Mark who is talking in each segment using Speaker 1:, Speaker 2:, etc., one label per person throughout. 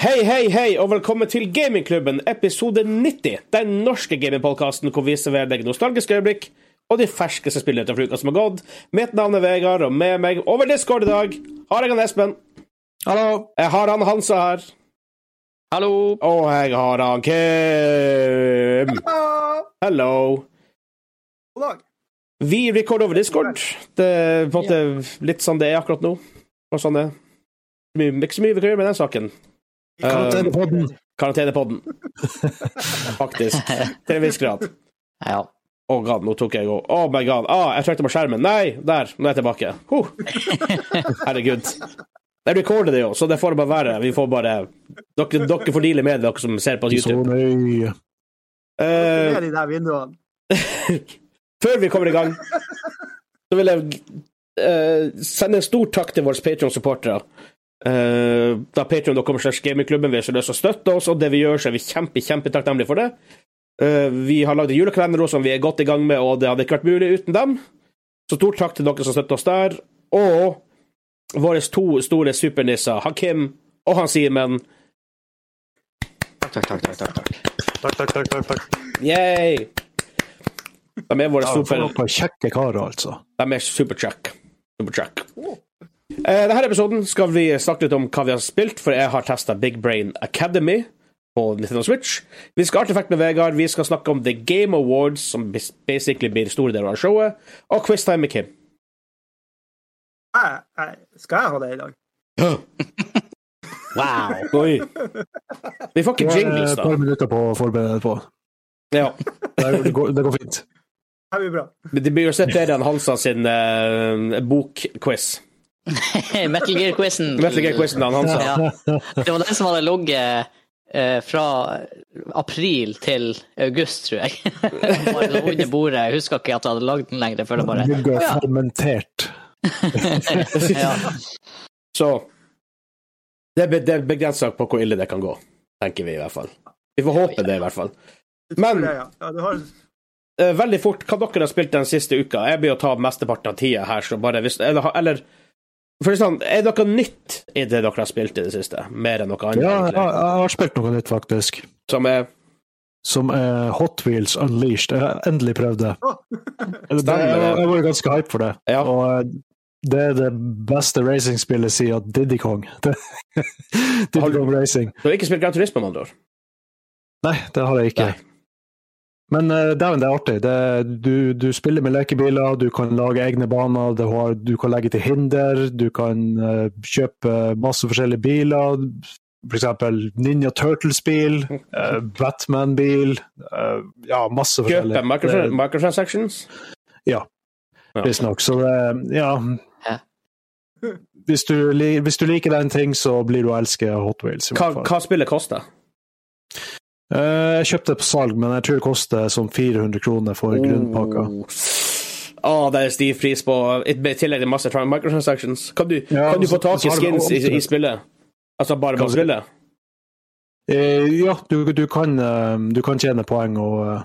Speaker 1: Hei, hei, hei, og velkommen til Gamingklubben, episode 90. Den norske gamingpodkasten hvor vi serverer deg nostalgiske øyeblikk og de ferskeste spillene fra uka som har gått. Mitt navn er Vegard, og med meg over Discord i dag har jeg han Espen.
Speaker 2: Hallo.
Speaker 1: Jeg har han Hansa her.
Speaker 2: Hallo.
Speaker 1: Og jeg har han Kim. Hello.
Speaker 3: God dag.
Speaker 1: Vi recorder over Discord. Det er på en måte litt sånn det er akkurat nå. Og sånn det er. Mye- Ikke så mye vi kan gjøre med den saken.
Speaker 2: Karantenepodden.
Speaker 1: Karantenepodden. Faktisk. Til en viss grad.
Speaker 2: Ja.
Speaker 1: Å god, nå tok jeg òg. Oh my god. Ah, jeg trykte på skjermen. Nei, der. Nå er jeg tilbake. Huh. Herregud. Jeg recorder det jo, så det får bare være. Vi får bare Dere, dere får deale med det, dere som ser på YouTube.
Speaker 2: nøye.
Speaker 3: Dere
Speaker 1: Eh,
Speaker 3: er i de der vinduene.
Speaker 1: før vi kommer i gang, så vil jeg eh, sende en stor takk til våre Patreon-supportere. Eh, da patreon.com slash gamingklubben vil så løse å støtte oss, og det vi gjør, så er vi kjempe, kjempetakknemlige for det. Eh, vi har lagd en julekalender også, som vi er godt i gang med, og det hadde ikke vært mulig uten dem. Så stor takk til dere som støtter oss der. Og våre to store supernisser, Hakim og han Simen.
Speaker 2: Takk, takk, takk. takk, takk.
Speaker 4: Takk, takk, takk. takk, takk.
Speaker 1: Yay! De er våre
Speaker 2: Ja,
Speaker 1: super...
Speaker 2: for noen kjekke karer, altså.
Speaker 1: De er superchuck. Superchuck. Eh, denne episoden skal vi snakke litt om hva vi har spilt, for jeg har testa Big Brain Academy på Nintendo Switch. Vi skal ha artefakt med Vegard, vi skal snakke om The Game Awards, som bas- basically blir store deler av showet, og quiztime med Kim.
Speaker 3: Jeg- jeg- Skal jeg ha det i dag?
Speaker 1: Wow. Oi. Vi får
Speaker 2: Du
Speaker 1: ikke
Speaker 2: har
Speaker 1: jingles,
Speaker 2: et
Speaker 1: da.
Speaker 2: par minutter på å forberede deg på.
Speaker 1: Ja.
Speaker 2: Det går, det går, det går fint.
Speaker 3: Det blir bra.
Speaker 1: Men det blir jo sett bedre enn Hansa sin eh, bokquiz.
Speaker 5: Metal Gear-quizen.
Speaker 1: Metal Gear-quizen til Hansa.
Speaker 5: Ja. Det var den som hadde ligget eh, fra april til august, tror jeg. Bare lå under bordet. Jeg husker ikke at jeg hadde lagd den lenger. Før det bare
Speaker 2: Ligger fermentert.
Speaker 5: ja.
Speaker 1: Så det er be- det er begrensa på hvor ille det kan gå, tenker vi i hvert fall. Vi får håpe det, i hvert fall.
Speaker 3: Du tror
Speaker 1: Men-
Speaker 3: det, ja. Ja, du har
Speaker 1: Eh, veldig fort, hva dere har spilt den siste uka? Jeg blir å ta mesteparten av tida her, så bare hvis Eller, eller for å si sånn, er det noe nytt i det dere har spilt i det siste? Mer enn noe annet,
Speaker 2: Ja, jeg,
Speaker 1: egentlig?
Speaker 2: jeg har spilt noe nytt, faktisk.
Speaker 1: Som er
Speaker 2: Som er Hot Wheels Unleashed. Jeg har endelig prøvd det.
Speaker 3: Å.
Speaker 2: Jeg, jeg, jeg var ganske hype for det.
Speaker 1: Ja.
Speaker 2: Og eh, det er det beste racingspillet siden Diddy Kong. Det- Diddy Kong Racing.
Speaker 1: Du har ikke spilt Gran Turismo, med andre ord?
Speaker 2: Nei, det har jeg ikke.
Speaker 1: Nei.
Speaker 2: Men eh, dæven, det er artig. Det, du, du spiller med lekebiler, du kan lage egne baner, du, har, du kan legge til hinder, du kan eh, kjøpe masse forskjellige biler. F.eks. Ninja Turtles-bil, eh, Batman-bil eh, Ja, masse
Speaker 1: Kjøpe
Speaker 2: forskjellig.
Speaker 1: microtra- microtransactions? ja.
Speaker 2: Visstnok. Så det Ja.
Speaker 5: Ja.
Speaker 2: Hvis du, li- hvis du liker den ting, så blir du å elske Hot Wheels. i
Speaker 1: Hva,
Speaker 2: hvert fall.
Speaker 1: hva spillet koster?
Speaker 2: Eh, Jeg kjøpte det på salg, men jeg tror det koster som 400 kroner for grunnpakka.
Speaker 1: Oh. Å, det er stiv pris på I tillegg til masse tra- microtransactions. Kan du,
Speaker 2: Ja,
Speaker 1: kan du
Speaker 2: så-
Speaker 1: få tak
Speaker 2: så
Speaker 1: i
Speaker 2: har du
Speaker 1: skins i, i
Speaker 2: opptrykk.
Speaker 1: spillet? Altså bare på
Speaker 2: Kan du-
Speaker 1: spillet?
Speaker 2: Eh, ja, du, du, kan, eh, du kan tjene poeng og, eh,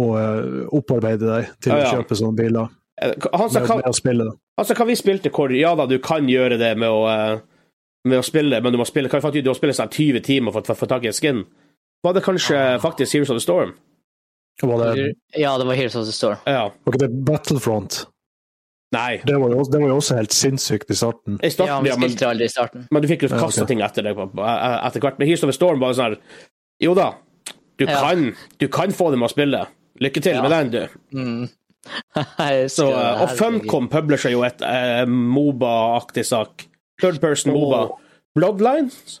Speaker 2: og eh, opparbeide deg til
Speaker 1: Ja, ja.
Speaker 2: å kjøpe sånne biler
Speaker 1: Eh, Han sa
Speaker 2: med,
Speaker 1: hva
Speaker 2: med å spille.
Speaker 1: Altså, hva vi spilte hvor Ja da, du kan gjøre det med å, eh, med å spille, men du må spille, hva faen, du må spille sånn 20 timer for å få tak i en skin. Var det kanskje faktisk Heroes of the Storm?
Speaker 2: Var det,
Speaker 5: ja, det var Heroes of the Storm.
Speaker 1: Ja.
Speaker 2: var ikke det Battlefront?
Speaker 1: Nei.
Speaker 2: Det var, jo, også- det var jo også helt sinnssykt i starten.
Speaker 1: I
Speaker 5: Ja,
Speaker 1: starten,
Speaker 5: vi
Speaker 1: ja, men,
Speaker 5: spilte aldri i starten.
Speaker 1: men du fikk jo
Speaker 2: Ja,
Speaker 1: kasta
Speaker 2: ok.
Speaker 1: ting etter deg på- på- etter hvert. Men Heroes of the Storm var jo sånn her Jo da, du
Speaker 5: Ja.
Speaker 1: kan, du kan få det med å spille. Lykke til
Speaker 5: Ja.
Speaker 1: med den, du.
Speaker 5: Mm. Jeg
Speaker 1: Så, eh,
Speaker 5: husker det,
Speaker 1: og
Speaker 5: herregud.
Speaker 1: Funcom publisher jo et eh, Moba-aktig sak. Third person
Speaker 5: Åh.
Speaker 1: Moba. Bloodlines?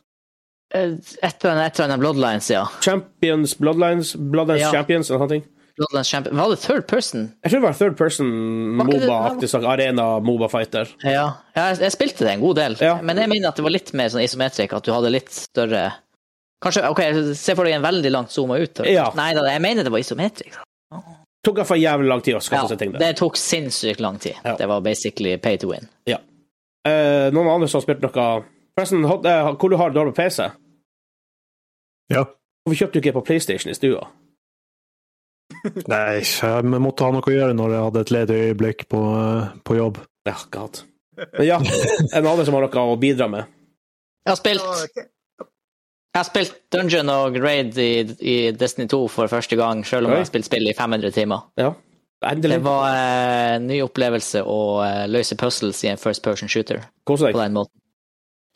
Speaker 5: Eh, Et eller annet- et eller annet Bloodlines, ja.
Speaker 1: Champions Bloodlines? Bloodlines
Speaker 5: Ja.
Speaker 1: Champions, eller noe sånt?
Speaker 5: Bloodlines Champion. Var det third person?
Speaker 1: Jeg tror det var third person
Speaker 5: Var ikke det-
Speaker 1: Moba-aktig sak. Arena Moba Fighter.
Speaker 5: Ja. Jeg, jeg spilte det en god del,
Speaker 1: Ja.
Speaker 5: men jeg mener at det var litt mer sånn isometric, at du hadde litt større Kanskje, OK, se for deg en veldig langt zooma ut.
Speaker 1: Ja.
Speaker 5: Nei da, jeg mener det var isometric.
Speaker 1: Tok iallfall jævlig lang tid å skaffe
Speaker 5: Ja,
Speaker 1: seg ting der.
Speaker 5: det tok sinnssykt lang tid.
Speaker 1: Ja.
Speaker 5: Det var basically pay to win.
Speaker 1: Eh, noen andre som har spilt noe Forresten, hot- eh, hvor du har dårlig PC?
Speaker 2: Ja.
Speaker 1: Hvorfor kjøpte du ikke på PlayStation i stua?
Speaker 2: Nei, jeg måtte ha noe å gjøre når jeg hadde et ledig øyeblikk på, eh, på jobb.
Speaker 1: Ja, god. Men ja, en annen som har noe å bidra med.
Speaker 5: Jeg har spilt
Speaker 3: Ja, ok.
Speaker 5: Jeg har spilt Dungeon og Raid i, i Destiny 2 for første gang, selv om
Speaker 1: Oi.
Speaker 5: jeg har spilt spill i 500 timer.
Speaker 1: Ja. Endelig.
Speaker 5: Det var eh, en ny opplevelse å eh, løse puzzles i en first person shooter
Speaker 1: Kos
Speaker 5: på
Speaker 1: deg.
Speaker 5: den måten.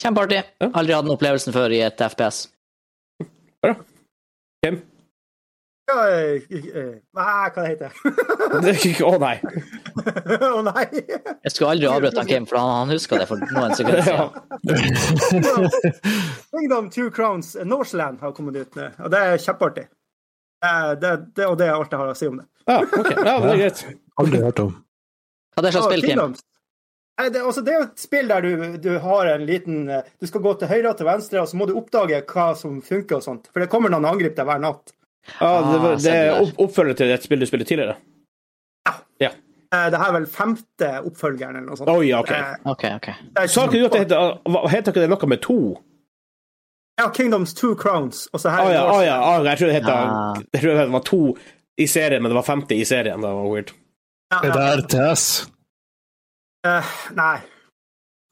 Speaker 5: Kjempeartig.
Speaker 1: Ja.
Speaker 5: Aldri hatt den opplevelsen før i et FPS.
Speaker 1: Kim?
Speaker 3: Ja, eh, eh, Nei, hva heter det?
Speaker 1: Å nei.
Speaker 3: Å nei!
Speaker 5: Jeg skulle aldri avbrutt han Kim, for han, han huska det for noen sekunder
Speaker 1: Ja.
Speaker 5: siden.
Speaker 3: Kingdom Two Crowns eh, Norseland har kommet ut nå, og det er kjempeartig. Det, er- det, det, og det er alt jeg har å si om det.
Speaker 1: Ja, ok. Ja, men det er greit.
Speaker 2: Aldri hørt om.
Speaker 5: Hva er det slags
Speaker 3: Ja,
Speaker 5: spill, Kim?
Speaker 3: Kingdoms. Nei, det, altså, det er jo et spill der du, du har en liten eh, Du skal gå til høyre og til venstre, og så må du oppdage hva som funker og sånt. For det kommer noen og angriper deg hver natt.
Speaker 1: Ja, det, var-
Speaker 5: Ah,
Speaker 1: det er
Speaker 5: stemmer.
Speaker 1: opp- oppfølger til et spill du spilte tidligere.
Speaker 3: Eh, Det her er vel femte oppfølgeren eller noe sånt.
Speaker 1: Oi, ja, ok.
Speaker 3: Eh,
Speaker 5: OK, OK.
Speaker 3: det er
Speaker 1: Sa ikke du at det heter, hva- heter ikke det noe med to?
Speaker 3: Ja, Kingdoms Two Crowns, og så
Speaker 1: Å
Speaker 3: her er
Speaker 1: ja, å
Speaker 3: Norseland.
Speaker 1: ja. ah, jeg tror det heter
Speaker 5: Ah.
Speaker 1: Jeg tror det var to i serien, men det var 50 i serien. Det var weird.
Speaker 3: Ja,
Speaker 2: Er det
Speaker 3: ja.
Speaker 2: RTS?
Speaker 3: Eh, Nei,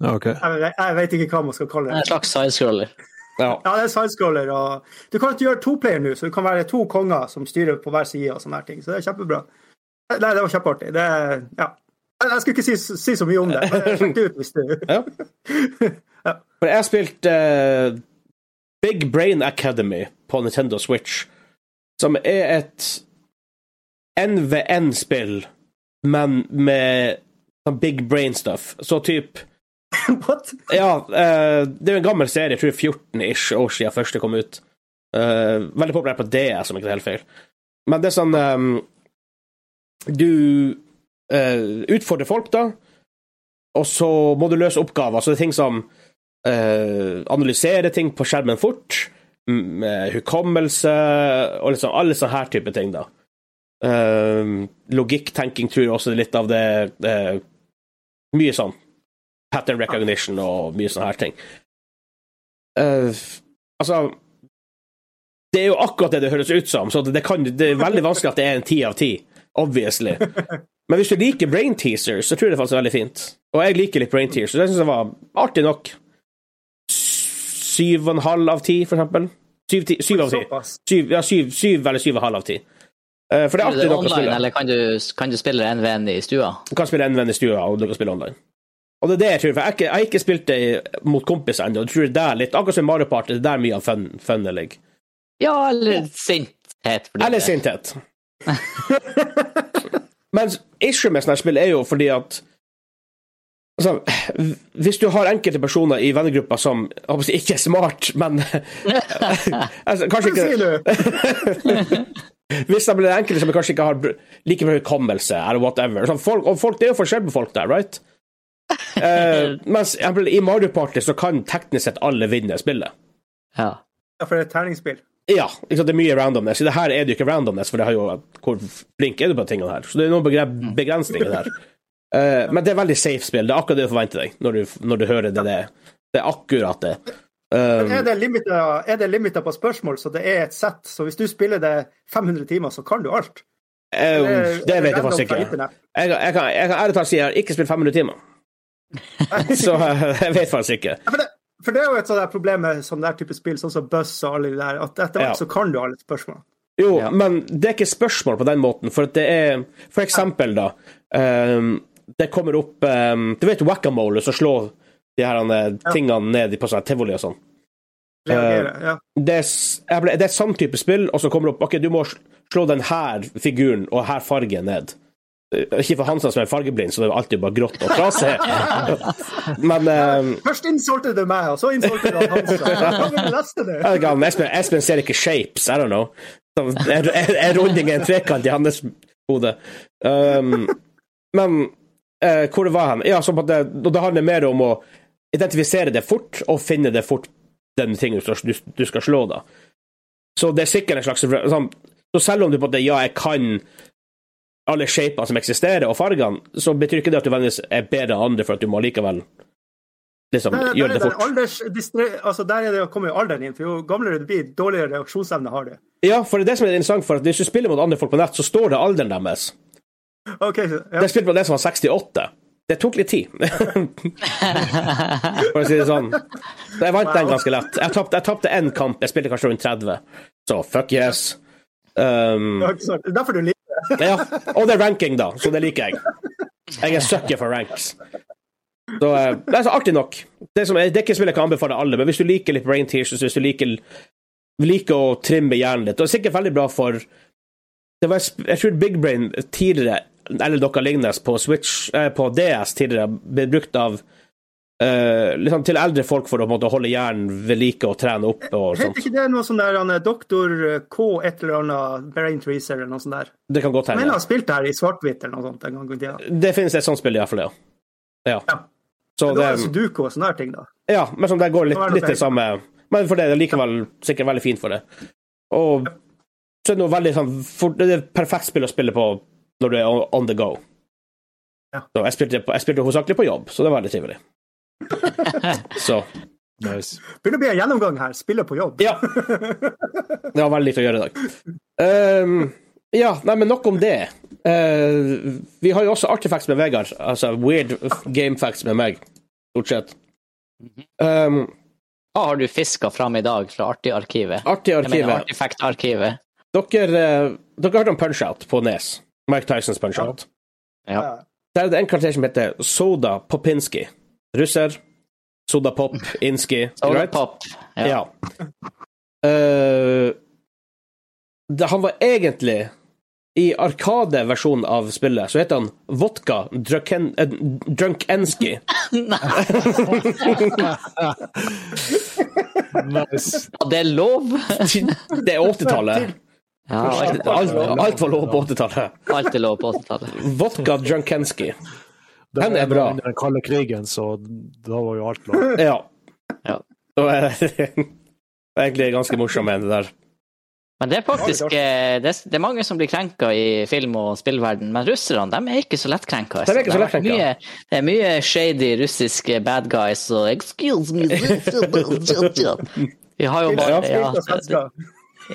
Speaker 2: Ja, OK.
Speaker 3: jeg, vet- jeg vet ikke hva man skal kalle
Speaker 5: En
Speaker 3: det.
Speaker 5: slags sidescroller.
Speaker 1: Ja.
Speaker 3: Ja, det er sidescroller, og du kan ikke gjøre toplayer nå, så du kan være to konger som styrer på hver side og sånne her ting, så det er kjempebra. Nei, det var kjempeartig. Det er, ja. Jeg jeg skulle ikke si, si så mye om det, men sjekk det ut hvis du
Speaker 1: Ja. For jeg spilte eh, Big Brain Academy på Nintendo Switch, som er et NVN-spill, men med sånn big brain-stuff. Så type
Speaker 3: What?
Speaker 1: Ja, eh, det er jo en gammel serie, jeg tror 14-ish år siden første kom ut. Eh, veldig populær på DS, om ikke det er helt feil. Men det er sånn eh, Du eh, utfordrer folk, da, og så må du løse oppgaver. Så det er ting som eh, analysere ting på skjermen fort, m- med hukommelse og liksom alle sånne her type ting, da. Eh, Logikktenking tror jeg også er litt av det eh, Mye sånn pattern recognition og mye sånne her ting. Eh, altså Det er jo akkurat det det høres ut som, så det, kan, det er veldig vanskelig at det er en ti av ti, obviously. Men hvis du liker brain teasers, så tror jeg det faktisk er veldig fint. Og jeg liker litt brain teasers, så det syns jeg var artig nok. Syv og en halv av ti, for eksempel. Syv, ti, syv av ti.
Speaker 3: Såpass.
Speaker 1: Syv, ja, syv, syv eller syv og en halv av ti. Eh, for det er
Speaker 5: Er det
Speaker 1: alltid noe å
Speaker 5: online,
Speaker 1: spille.
Speaker 5: eller kan du, kan du spille NVN i stua?
Speaker 1: Du kan spille én venn i stua, og du kan spille online. Og det er det jeg tror, for jeg, har ikke- jeg har ikke spilt det mot kompiser ennå. Jeg tror det er der litt, akkurat som i Mario Party, det er der mye av fun- funnet ligger.
Speaker 5: Ja, eller sinthet. for din
Speaker 1: Eller
Speaker 5: del.
Speaker 1: sinthet. Men issue med sånne her spill er jo fordi at Altså, hvis du har enkelte personer i vennegruppa som jeg håper å si, ikke er smart, men altså, Kanskje
Speaker 3: Hva
Speaker 1: ikke
Speaker 3: sier du?
Speaker 1: Hvis det blir enkelte som kanskje ikke har br- like bra hukommelse, eller whatever. Sånn, folk, og folk, det er jo forskjell på folk der, right? Eh, mens for eksempel, i Mario Party så kan teknisk sett alle vinne spillet.
Speaker 5: Ja.
Speaker 3: Ja, for det er et terningsspill.
Speaker 1: Ja, ikke sant, det er mye randomness. I det her er det jo ikke randomness, for det har jo Hvor flink er du på tingene her? Så det er noen begre
Speaker 3: Mm.
Speaker 1: begrensninger der. Eh, men det er veldig safe spill. Det er akkurat det du forventer deg når du, når du hører det det er. Det er akkurat det. Um,
Speaker 3: Er det limiter- er det limiter på spørsmål, så det er et sett, så hvis du spiller det 500 timer, så kan du alt?
Speaker 1: eh,
Speaker 3: Eller-
Speaker 1: det vet jeg
Speaker 3: eller
Speaker 1: faktisk
Speaker 3: random fra
Speaker 1: ikke. Jeg,
Speaker 3: internett?
Speaker 1: jeg, kan, jeg kan ærlig talt si jeg har ikke spilt 500 timer, så eh, jeg vet faktisk ikke.
Speaker 3: Ja, For det, for det er jo et sånt der problem med sånn der type spill, sånn som Buzz og alle de der, at etter hvert
Speaker 1: Ja.
Speaker 3: så kan du alle spørsmål.
Speaker 1: Jo,
Speaker 5: Ja.
Speaker 1: men det er ikke spørsmål på den måten, for at det er For eksempel, da. ehm, det kommer opp ehm, Du vet whack-a-mole, som slår de her eh, tingene ned i- på sånn tivoli og sånn.
Speaker 3: Reagere.
Speaker 1: Eh.
Speaker 3: ja.
Speaker 1: Det er, s- jeg ble, det er sånn type spill, og så kommer det opp OK, du må sl- slå den her figuren og her fargen ned. Eh, Ikke for Hansa som er fargeblind, så det er alltid bare grått og trasig. Men ehm,
Speaker 3: Først insultet du meg, og så insultet du han Hansa. Hva vil du leste det?
Speaker 1: jeg vet ikke, han Espen, Espen ser ikke shapes, I don't know. Sånn, En en- en runding er en trekant i hans hode. Um, men eh, hvor var han? Ja, så på det, og det handler mer om å identifisere det fort, og finne det fort, den tingen du, skal- du, du skal slå, da. Så det er sikkert en slags sånn, Så selv om du på en måte Ja, jeg kan alle shapene som eksisterer, og fargene, så betyr ikke det at du vanligvis er bedre enn andre for at du må likevel liksom
Speaker 3: Der, der,
Speaker 1: gjøre
Speaker 3: er
Speaker 1: det
Speaker 3: det
Speaker 1: fort.
Speaker 3: alders, distre- altså der er det, kommer jo alderen inn, for jo gamlere du blir, dårligere reaksjonsevne har du.
Speaker 1: Ja, for det er det som er interessant, for at hvis du spiller mot andre folk på nett, så står det alderen deres.
Speaker 3: Ok, så- ja.
Speaker 1: Jeg spilte på det som var 68. Det tok litt tid, for å si det sånn. Så jeg vant den ganske lett. Jeg tapte- jeg tapte én kamp, jeg spilte kanskje rundt 30, så fuck yes. Um,
Speaker 3: Det er ikke sant. Det er derfor du liker det.
Speaker 1: ja. Og det er ranking, da, så det liker jeg. Jeg er sucker for ranks. Så eh, det er så artig nok. Det, som, er- det er ikke spill jeg kan anbefale alle, men hvis du liker litt brain tears, hvis du liker, liker å trimme hjernen litt, og det er sikkert veldig bra for det var, sp- Jeg tror Big Brain tidligere, eller noe lignende, på, Switch, eh, på DS tidligere, ble brukt av eh, liksom til eldre folk for å på en måte, holde hjernen ved like og trene opp og
Speaker 3: Heter
Speaker 1: sånt.
Speaker 3: ikke det noe sånn der han, doktor eh, K et eller annet Brain Treaser eller noe sånt der?
Speaker 1: Det kan godt
Speaker 3: Jeg mener
Speaker 1: hende.
Speaker 3: han spilte her i svart-hvitt eller noe sånt en gang i tida.
Speaker 1: Det finnes et sånt spill, iallfall, ja. ja.
Speaker 3: Ja.
Speaker 1: Så
Speaker 3: Det var
Speaker 1: det-
Speaker 3: Sudoku og sånne her ting, da.
Speaker 1: Ja, men sånn, det går litt,
Speaker 3: Det var noe
Speaker 1: litt det
Speaker 3: feil.
Speaker 1: samme. Men for det, det er likevel sikkert veldig fint for det. Og så er det noe veldig sånn for, Det er et perfekt spill å spille på når du er on- on the go.
Speaker 3: Ja.
Speaker 1: Så jeg spilte, på- jeg spilte hovedsakelig på jobb, så det var veldig trivelig. så
Speaker 2: Nice.
Speaker 3: Begynner å bli en gjennomgang her. Spiller på jobb.
Speaker 1: Ja. Det var veldig lite å gjøre i dag. Ehm, ja, nei, men nok om det. Eh, vi har jo også artifacts med Vegard. Altså weird game facts med meg, stort sett. Ehm,
Speaker 5: Hva har du fiska fram i dag fra Artig-arkivet?
Speaker 1: artig
Speaker 5: Jeg mener
Speaker 1: arkivet.
Speaker 5: Artifact-arkivet.
Speaker 1: Dere, eh, dere hørte om Punch-Out på Nes. Mike Tysons Punch-Out.
Speaker 5: Ja.
Speaker 1: Der er det en karakter som heter Soda Popinski. Russer. Soda Pop, Inski. right?
Speaker 5: Pop.
Speaker 1: Ja.
Speaker 5: Ja.
Speaker 1: Eh, det, han var egentlig I Arkade-versjonen av spillet så heter han Vodka Drunken, eh, Drunkenski.
Speaker 2: nice.
Speaker 5: Ja, Det er lov!
Speaker 1: Det er 80-tallet.
Speaker 5: Ja, alt,
Speaker 1: Alt, alt var lov på 80-tallet.
Speaker 5: alt er lov på 80-tallet.
Speaker 1: Vodka Drunkenski.
Speaker 2: Det
Speaker 1: Den er
Speaker 2: var
Speaker 1: bra.
Speaker 2: Under den kalde krigen, så da var jo alt lov.
Speaker 1: Ja.
Speaker 5: Ja.
Speaker 1: Og, eh, det er egentlig ganske morsomt med det der.
Speaker 5: Men det er faktisk eh, det er, det er mange som blir krenka i film- og spillverden, men russerne de er ikke så lettkrenka.
Speaker 1: De er ikke så
Speaker 5: Det har vært
Speaker 1: lettkrenka.
Speaker 5: Mye, det er mye shady russiske bad guys og excuse me Vi har jo bare ja,
Speaker 3: Spilt og svenska.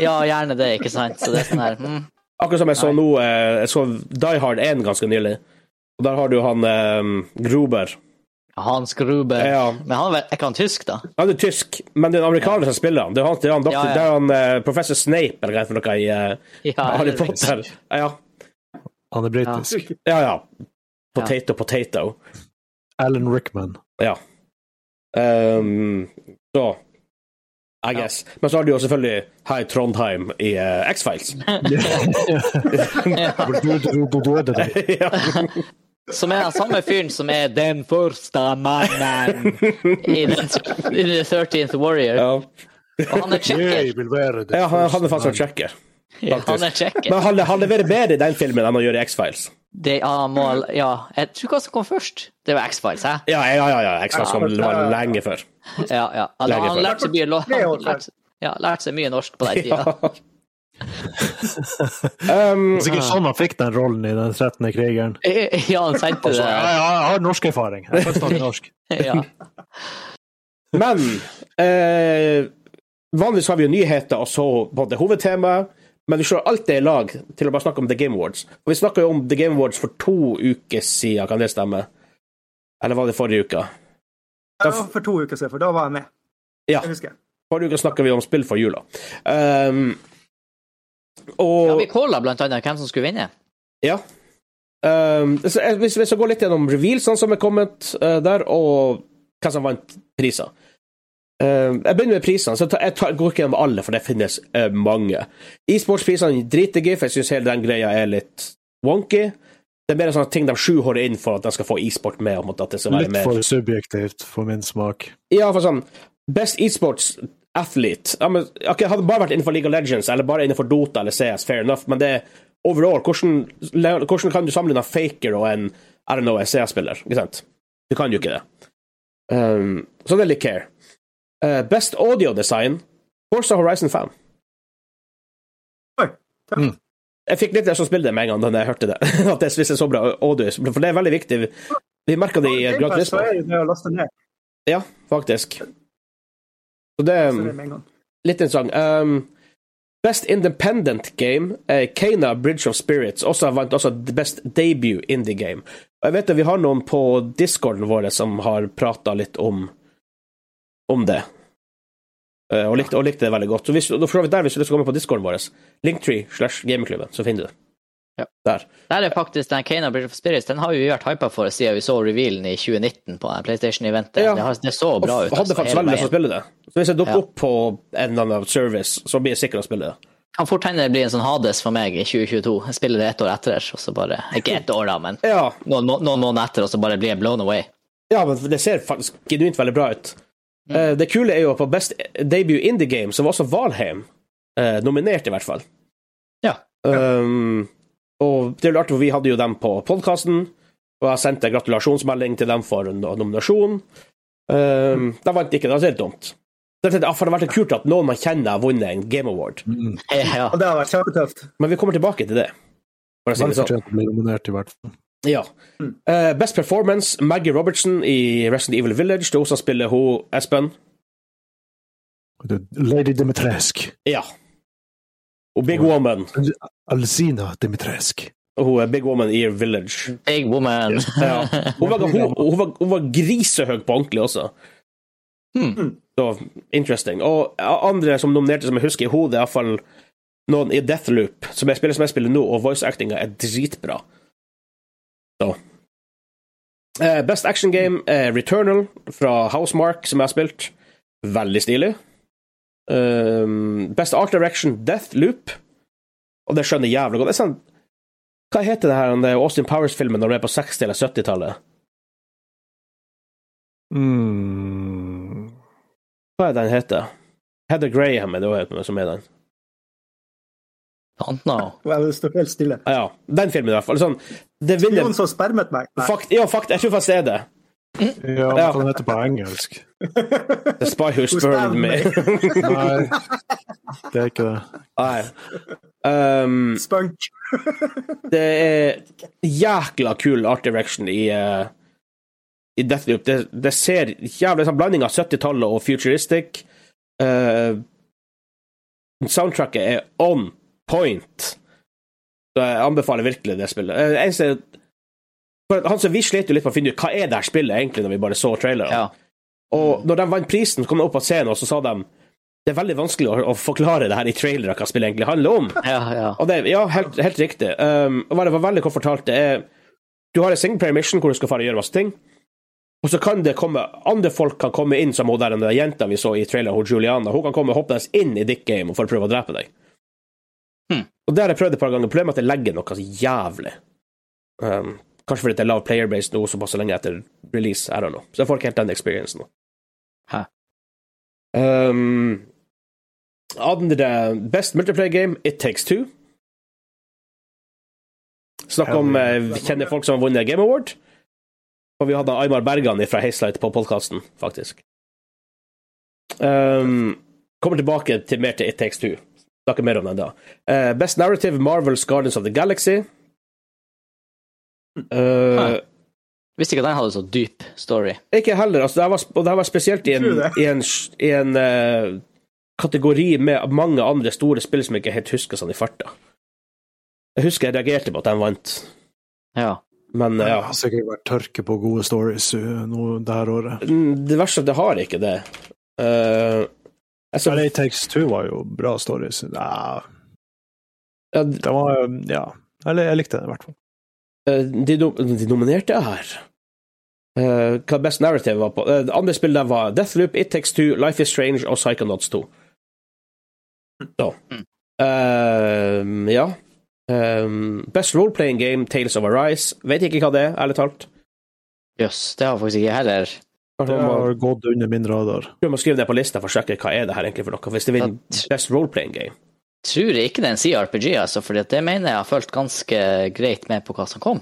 Speaker 5: ja, gjerne det, ikke sant? Så det er sånn her mm.
Speaker 1: Akkurat som jeg så nå eh, Jeg så Die Hard 1 ganske nylig. Og der har du han eh, Gruber.
Speaker 5: Hans Gruber.
Speaker 1: Ja.
Speaker 5: Men han er vel- er ikke han tysk, da?
Speaker 1: Han er tysk, men det er en amerikaner som spiller han. Det er han, det er han, doktor,
Speaker 5: Ja, ja.
Speaker 1: Det er han eh, professor Snape eller hva det er for noe i eh,
Speaker 5: Ja,
Speaker 1: Harry Potter. Ja,
Speaker 2: Han er britisk.
Speaker 1: ja. ja. Potato, potato.
Speaker 2: Alan Rickman.
Speaker 1: Um, så I guess. Men så har du jo selvfølgelig High Trondheim i eh, X-Files.
Speaker 2: Hvor du- du- du døde deg.
Speaker 1: ja.
Speaker 5: Som er den samme fyren som er den første mannen i, den, i The 13th Warrior.
Speaker 1: ja.
Speaker 5: Og han er
Speaker 2: Jeg
Speaker 5: tjekker.
Speaker 2: vil være det.
Speaker 1: ja, han, han er faktisk en
Speaker 2: første
Speaker 1: tsjekker.
Speaker 5: Han er tjekker.
Speaker 1: Men han, han leverer bedre i den filmen enn han gjør i X-Files.
Speaker 5: Det, ja, han må, ja, jeg tror hva som kom først. Det var X-Files, hæ?
Speaker 1: Ja, ja, ja. ja. X-Files kom
Speaker 3: Ja, ja, ja.
Speaker 1: lenge før.
Speaker 5: Ja, ja. Han,
Speaker 1: Lenge før.
Speaker 5: han lærte seg mye, lo-
Speaker 3: Tre år
Speaker 5: han lærte, ja, lærte seg mye norsk på den tida.
Speaker 1: Ja. um,
Speaker 2: Det er sikkert sånn han fikk den rollen i Den 13. krigeren.
Speaker 5: Ja, han sendte
Speaker 2: Så
Speaker 5: det.
Speaker 2: jeg, jeg har norsk erfaring. Jeg kan snakke norsk.
Speaker 5: Ja.
Speaker 1: men eh, vanligvis har vi jo nyheter og så både hovedtemaet, men vi slår alltid i lag til å bare snakke om The Game Awards. Og vi snakka jo om The Game Awards for to uker siden, kan det stemme? Eller var det forrige uke?
Speaker 3: Det var for to uker siden, for da var jeg med.
Speaker 1: Ja.
Speaker 3: Jeg husker.
Speaker 1: Forrige uke snakka vi om spill for jula. Um,
Speaker 5: Ja,
Speaker 1: og
Speaker 5: vi calla blant annet hvem som skulle vinne.
Speaker 1: Ja. Um, så jeg, hvis vi skal gå litt gjennom revealsene som er kommet eh, der, og hva som vant priser. Um, jeg begynner med prisene. så jeg tar- Jeg tar, går ikke gjennom alle, for det finnes eh, mange. E-sportsprisene driter jeg i, for jeg syns hele den greia er litt wonky. Det er mer sånne ting de skjuhårer inn for at de skal få e-sport med. Om at det skal være
Speaker 2: Litt
Speaker 1: med.
Speaker 2: for subjektivt for min smak.
Speaker 1: Ja, for sånn Best esports athlete ja, men, ok, Hadde det bare vært innenfor League of Legends eller bare innenfor Dota eller CS, fair enough, men det er overall Hvordan, le- hvordan kan du sammenligne en faker og en I don't know, en CS-spiller? Ikke sant? Du kan jo ikke det. Um, så det er litt care. Uh, best audio design Forza Horizon 5.
Speaker 3: Oi, takk.
Speaker 2: Mm.
Speaker 1: Jeg fikk litt lyst til å spille det med en gang da jeg hørte det. At jeg spiste så bra audio, for det er veldig viktig. Vi merka det i eh,
Speaker 3: Game
Speaker 1: Gran
Speaker 3: Pass,
Speaker 1: Turismo.
Speaker 3: så er det det å laste ned.
Speaker 1: Ja, faktisk. Så det um,
Speaker 3: Så er det med en gang.
Speaker 1: litt interessant. Um, best Independent Game, eh, Kena Bridge of Spirits, også vant også Best Debut Indie Game. Og jeg vet det, vi har noen på discorden vår som har prata litt om, om det. Eh, Og likte, og likte det veldig godt. Så hvis, og for så vidt der, hvis du har lyst til å komme på discorden vår, linktree slash gamingklubben, så finner du det.
Speaker 5: Ja.
Speaker 1: Der.
Speaker 5: Der er faktisk den Kane of Bridge of Spirits den har vi vært hypa for siden vi så revealen i 2019 på den PlayStation-eventet.
Speaker 1: Ja.
Speaker 5: Det, har- det så
Speaker 1: Og
Speaker 5: bra ut.
Speaker 1: f- hadde
Speaker 5: altså,
Speaker 1: faktisk
Speaker 5: hele
Speaker 1: veldig lyst til å
Speaker 5: veien.
Speaker 1: spille det. Så hvis jeg dukker
Speaker 5: Ja.
Speaker 1: opp på en eller annen service, så blir jeg sikker å spille det.
Speaker 5: Kan fort hende det blir en sånn Hades for meg i 2022. Jeg spiller det ett år etter, og så bare Ikke ett år, da, men
Speaker 1: Ja,
Speaker 5: noen, må- noen måneder etter, og så bare blir jeg blown away.
Speaker 1: ja men det ser faktisk genuint veldig bra ut.
Speaker 5: Mm.
Speaker 1: Eh, det kule er jo at på Best Debut Indie Game, så var også Valheim eh, nominert, i hvert fall.
Speaker 5: Ja.
Speaker 1: Um, og det er jo artig, for vi hadde jo dem på podkasten, og jeg sendte en gratulasjonsmelding til dem for en nominasjon. Um,
Speaker 5: Mm.
Speaker 1: De vant ikke, det var helt dumt. Så jeg tenkte, ah, for det hadde vært kult at noen man kjenner, har vunnet en Game Award.
Speaker 5: Mm. Ja.
Speaker 3: Og det har vært kjempetøft.
Speaker 1: Men vi kommer tilbake til det. For å si
Speaker 2: Vel
Speaker 1: det sånn.
Speaker 2: fortjent å bli nominert, i hvert fall.
Speaker 1: Ja.
Speaker 5: Mm.
Speaker 1: Eh, best performance, Maggie Robertson i Resident Evil Village. Det er hun som spiller hun Espen.
Speaker 2: Lady Dimitresk.
Speaker 1: Ja. Og Big Woman.
Speaker 2: Alzina Dimitresk.
Speaker 1: Og Hun er Big Woman i Village.
Speaker 5: Big woman.
Speaker 1: Ja. Hun, var, hun, hun, var, hun var grisehøg på ordentlig også.
Speaker 5: Hmm.
Speaker 1: Så interesting. Og andre som nominerte som jeg husker i hodet, iallfall noen i Deathloop, som jeg spiller som jeg spiller nå, og voice-actinga er dritbra. Så Eh, Best action game er Returnal fra Housemark, som jeg har spilt. Veldig stilig. Um, best art direction, Deathloop. Og det skjønner jeg jævlig godt. Det er sånn Hva heter det her, den der Austin Powers-filmen når det er på 60- eller 70-tallet? Hmm.
Speaker 2: Mm.
Speaker 1: Hva er den heter? Heather Graham er det hun heter, som er den.
Speaker 5: Don't know.
Speaker 3: Og jeg står helt stille.
Speaker 1: Ah, Ja, den filmen i hvert fall. Sånn, det vinner
Speaker 3: Noen som spermet meg. Nei.
Speaker 1: fakt, Ja, fakt, jeg tror faktisk det er det.
Speaker 2: Ja, hva
Speaker 1: Ja.
Speaker 2: kan den hete på engelsk?
Speaker 1: The Spy Who Spurned Me.
Speaker 2: Nei, det er ikke det.
Speaker 1: Nei. Um,
Speaker 3: Spunk.
Speaker 1: det er jækla kul art direction i, eh, i Deathloop. Det, det ser jævlig sånn blanding av 70-tallet og futuristic. Eh, soundtracket er on point. Så jeg anbefaler virkelig det spillet. Eh, det eneste, for han som Vi slet jo litt med å finne ut hva er det her spillet egentlig, når vi bare så traileren.
Speaker 5: Ja.
Speaker 1: Og når de vant prisen, så kom de opp på scenen og så sa de det er veldig vanskelig å, å forklare det her i trailere hva spillet egentlig handler om.
Speaker 5: Ja, ja.
Speaker 1: Og det, ja, helt, helt riktig. Um, og det var veldig kort fortalt, det er Du har en singleplayer mission hvor du skal fare og gjøre masse ting, og så kan det komme andre folk kan komme inn, som hun der den der jenta vi så i traileren, hun Juliana. Hun kan komme hoppende inn i ditt game for å prøve å drepe deg.
Speaker 5: Hmm.
Speaker 1: Og det har jeg prøvd et par ganger. Problemet er at jeg legger noe så jævlig. Um, kanskje fordi det er lav playerbase nå, såpass lenge etter release. I don't know. Så jeg får ikke helt den experiencen nå.
Speaker 5: Hæ.
Speaker 1: Um, andre Best multiplayer game, It Takes Two. Snakk om eh, vi kjenner folk som har vunnet Game Award. Og vi hadde Aymar Bergan fra Hazelight på podkasten, faktisk. Um, kommer tilbake til mer til It Takes Two. Snakker mer om den da. Eh, best Narrative, Marvels Guardians of the Galaxy. Eh,
Speaker 5: Visste ikke at den hadde så dyp story.
Speaker 1: ikke heller. Altså, det her var, og det her var spesielt i en,
Speaker 3: Tror det.
Speaker 1: i en, i en eh, kategori med mange andre store spill som jeg ikke helt husker sånn i farta. Jeg husker jeg reagerte på at de vant,
Speaker 5: Ja.
Speaker 1: men eh,
Speaker 2: Det
Speaker 1: ja.
Speaker 2: har sikkert vært tørke på gode stories uh, nå det her året.
Speaker 1: Mm, Det verste er at det har ikke det. Eh, jeg så,
Speaker 2: Men It Takes Two var jo bra stories. Nei,
Speaker 1: ja, d-
Speaker 2: det var um, Ja. Eller jeg likte det, i hvert fall.
Speaker 1: eh, de, nom- de nominerte her Eh, Hva Best Narrative var på eh, Det andre spillet der var Deathloop, It Takes Two, Life Is Strange og Psychonauts 2. Så Eh, Ja. Eh, best Role-Playing Game, Tales of Arise. Vet ikke hva det er, ærlig talt.
Speaker 5: Jøss, det har jeg faktisk ikke heller.
Speaker 1: Kanskje
Speaker 2: Det
Speaker 1: man må-
Speaker 2: har gått under min radar.
Speaker 1: tror jeg må skrive det på lista for å sjekke hva er det her egentlig for noe. Hvis det vinner
Speaker 5: At-
Speaker 1: Best Role-Playing Game.
Speaker 5: Tror jeg ikke det er en CRPG, altså, for det mener jeg har fulgt ganske greit med på hva som kom.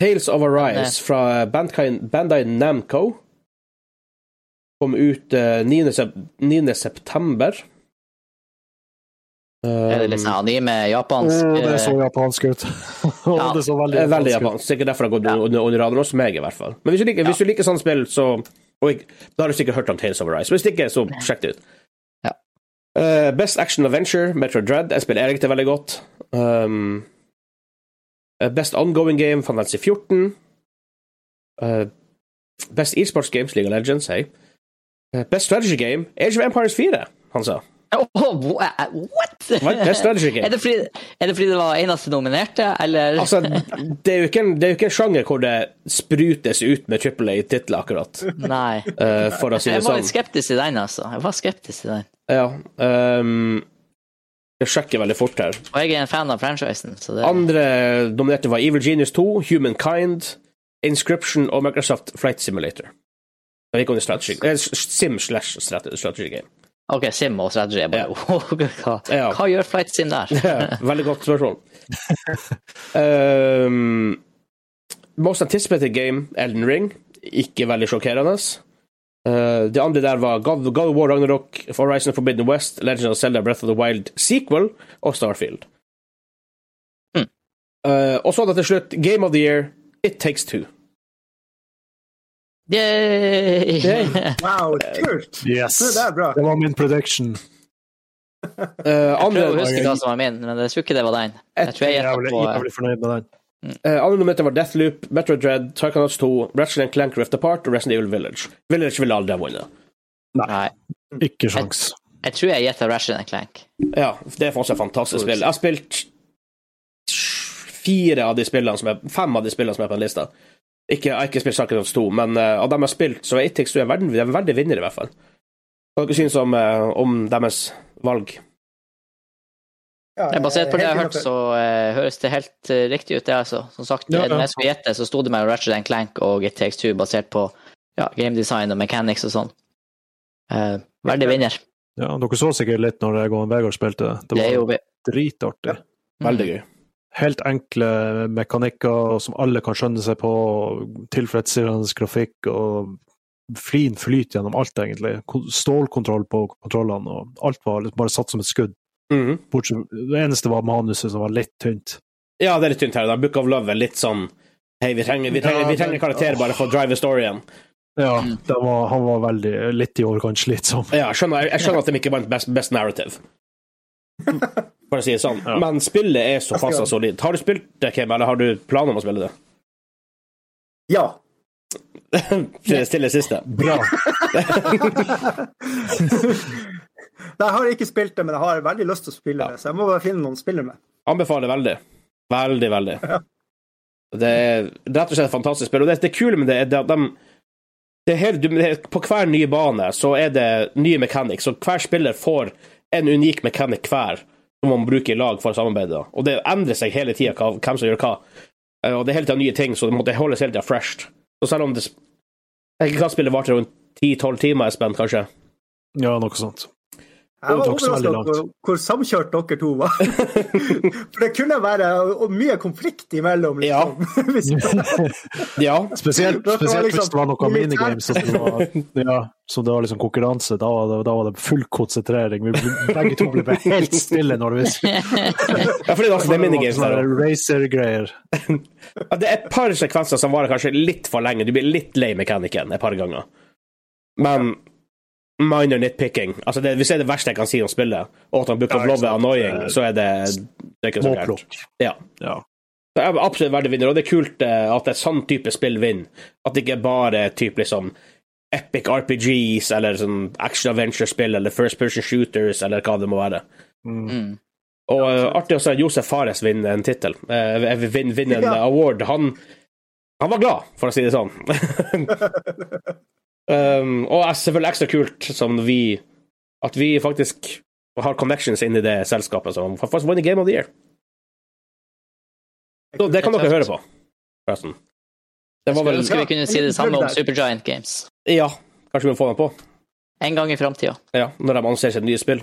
Speaker 1: Tales of Arise
Speaker 5: Nei.
Speaker 1: fra Bandai, Bandai Namco kom ut eh, 9. Sep 9. september.
Speaker 5: Er det litt
Speaker 1: Um,
Speaker 5: sånn anime, japansk
Speaker 2: Å, det så
Speaker 5: eh,
Speaker 2: japansk ut. Å,
Speaker 5: Ja,
Speaker 2: det så veldig
Speaker 1: eh, veldig
Speaker 2: japansk ut.
Speaker 1: japansk. Sikkert derfor det har gått under, under radaren hos meg, i hvert fall. Men hvis du liker, hvis du liker sånne spill, så og ikke- Da har du sikkert hørt om Tales of Arise. Hvis ikke, så sjekk det ut.
Speaker 5: Ja.
Speaker 1: Eh, Best Action Adventure, Metro Dread. Jeg spiller Erik det veldig godt. Um, eh, Best Ongoing Game, Fantasy 14. Eh, Best esports games League of Legends, hei. Eh, Best strategy game Age of Empires 4, han sa.
Speaker 5: eh, Åh, wha- what?!
Speaker 1: Hva er best strategy game?
Speaker 5: Er det, fordi, er det fordi det var eneste nominerte, eller
Speaker 1: Altså, det er jo ikke en, det er jo ikke en sjanger hvor det sprutes ut med triple A-titler, akkurat.
Speaker 5: Nei.
Speaker 1: eh, for å si det
Speaker 5: Jeg var
Speaker 1: sånn.
Speaker 5: litt skeptisk til den, altså. Jeg var skeptisk til den.
Speaker 1: Ja. ehm, jeg sjekker veldig fort her.
Speaker 5: Og jeg er en fan av franchisen, så det
Speaker 1: Andre dominerte var Evil Genius 2, Humankind, Inscription og Microsoft Flight Simulator. Det gikk under strategy, eh, sim slash strate- strategy game.
Speaker 5: OK, Sim og Strategy er bare hva,
Speaker 1: Ja.
Speaker 5: hva gjør Flight Sim der?
Speaker 1: Veldig godt spørsmål. um, most anticipated game, Elden Ring. Ikke veldig sjokkerende. Uh, det andre der var God, God of War Ragnarok, Horizon Forbidden West, Legend of Zelda Breath of the Wild sequel og Starfield.
Speaker 5: Mm.
Speaker 1: Uh, og så da til slutt Game of the Year, It Takes Two.
Speaker 5: Yay!
Speaker 1: Yay.
Speaker 3: Wow, kult!
Speaker 2: Yes.
Speaker 3: Det der er bra.
Speaker 2: Det var min prediction.
Speaker 1: Uh, andre,
Speaker 5: Prøv å huske hva som var min, men jeg tror ikke det var den. Jeg tror jeg
Speaker 2: Jeg er
Speaker 5: gjetter
Speaker 2: jævlig,
Speaker 5: på
Speaker 2: jævlig fornøyd med den.
Speaker 1: Eh, andre nummer var Deathloop, Metro Dread, Psychonauts 2, Ratchet and Clank Rift Apart og Resident Evil Village. Village ville aldri ha vunnet.
Speaker 5: Nei.
Speaker 2: Ikke sjans.
Speaker 5: Jeg tror jeg gjetter Ratchet Clank.
Speaker 1: Ja, det er fortsatt et fantastisk spill. Jeg har spilt fire av de spillene som er, fem av de spillene som er på den lista. Ikke, jeg har ikke spilt Psychonauts 2, men eh, av dem jeg har spilt, så er It Takes Two en verden- de er en verdig vinner, i hvert fall. Hva dere synes om, eh, om deres valg?
Speaker 3: Ja,
Speaker 5: Det er basert på det jeg har hørt,
Speaker 3: helt
Speaker 5: så eh, høres det helt eh, riktig ut, det, altså. Som sagt,
Speaker 2: Ja, ja.
Speaker 5: når jeg skulle gjette, så sto det mellom Ratchet Clank og It Takes Two, basert på ja, gamedesign og mechanics og sånn. Eh, verdig vinner.
Speaker 2: Ja, dere så sikkert litt når jeg og Vegard spilte. Det
Speaker 5: Det Mm. er jo
Speaker 2: var dritartig.
Speaker 1: Veldig gøy.
Speaker 2: Helt enkle mekanikker som alle kan skjønne seg på, tilfredsstillende grafikk og fin flyt gjennom alt, egentlig. Ko- Stålkontroll på kontrollene, og alt var liksom bare satt som et skudd.
Speaker 1: Mhm.
Speaker 2: Bortsett, det eneste var manuset, som var litt tynt.
Speaker 1: Ja, det er litt tynt her. da. Book of Love er litt sånn Hei, vi trenger, vi trenger, vi trenger karakterer bare for å drive storyen.
Speaker 2: Ja,
Speaker 5: Mm.
Speaker 2: det var, han var veldig litt i overkant slitsom.
Speaker 1: Ja, jeg skjønner, jeg skjønner at de ikke vant best, best narrative. For å si det sånn.
Speaker 2: Ja.
Speaker 1: Men spillet er såpass og solid. Har du spilt det, Kim, eller har du planer om å spille det?
Speaker 3: Ja.
Speaker 1: Til det stille siste.
Speaker 2: Bra.
Speaker 3: Nei, Jeg har ikke spilt det, men jeg har veldig lyst til å spille det, så jeg må bare finne noen å spille med.
Speaker 1: Anbefaler veldig. Veldig, veldig. Det er rett og slett et fantastisk spill. Og det, det er kule med det, er det at de det er helt, du- det er, På hver nye bane så er det nye mechanics, så hver spiller får en unik mechanic hver som man bruker i lag for å samarbeide. da. Og det endrer seg hele tida hvem som gjør hva. Eh, Og det er hele tida nye ting, så det måtte holdes hele tida fresh. Så selv om det sp- Jeg kan spille varte rundt 10-12 timer, Espen, kanskje.
Speaker 2: Ja, noe sånt.
Speaker 3: Jeg var
Speaker 2: Det tok så veldig
Speaker 3: overrasket
Speaker 2: langt.
Speaker 3: over hvor samkjørt dere to var. For det kunne være og mye konflikt imellom. Liksom. Hvis-
Speaker 1: Ja.
Speaker 2: Spesielt,
Speaker 3: Det var
Speaker 2: spesielt
Speaker 3: liksom
Speaker 2: hvis det var noe
Speaker 3: militært.
Speaker 2: minigames som det var, ja, som det var liksom konkurranse. Da, var det- da var det full konsentrering. Vi ble- begge to ble bare helt stille når vi
Speaker 1: ja for det er altså det er minigames der også.
Speaker 2: Sånne Racer-greier.
Speaker 1: Ja, det er et par sekvenser som varer kanskje litt for lenge. Du blir litt lei mekanikken et par ganger. Men minor nitpicking altså det, Hvis det er det verste jeg kan si om spillet, og at han Book
Speaker 2: Ja,
Speaker 1: of
Speaker 2: ikke
Speaker 1: Love er
Speaker 2: sant.
Speaker 1: annoying, så er det, det er ikke så gærent.
Speaker 2: Småplukk.
Speaker 1: Ja.
Speaker 2: Ja.
Speaker 1: Så jeg er absolutt verdig vinner, og det er kult eh, at et sånn type spill vinner. At det ikke bare er typ liksom epic RPGs eller sånn action adventure-spill eller first person shooters eller hva det må være.
Speaker 2: Mm.
Speaker 5: Mm.
Speaker 1: Og eh, artig å se Josef Fares vinne en tittel. Eh, vin- vin- vinne en
Speaker 3: Ja.
Speaker 1: award. Han, han var glad, for å si det sånn. um, og er selvfølgelig ekstra kult som vi at vi faktisk har connections inn i det selskapet som har faktisk vunnet Game of the Year. Så det kan dere høre på, forresten. Det var
Speaker 5: Skulle
Speaker 1: vel
Speaker 5: ønske vi kunne si det samme om Supergiant Games.
Speaker 1: Ja, kanskje vi må få dem på.
Speaker 5: En gang i framtida.
Speaker 1: Ja, når de annonserer sitt nye spill.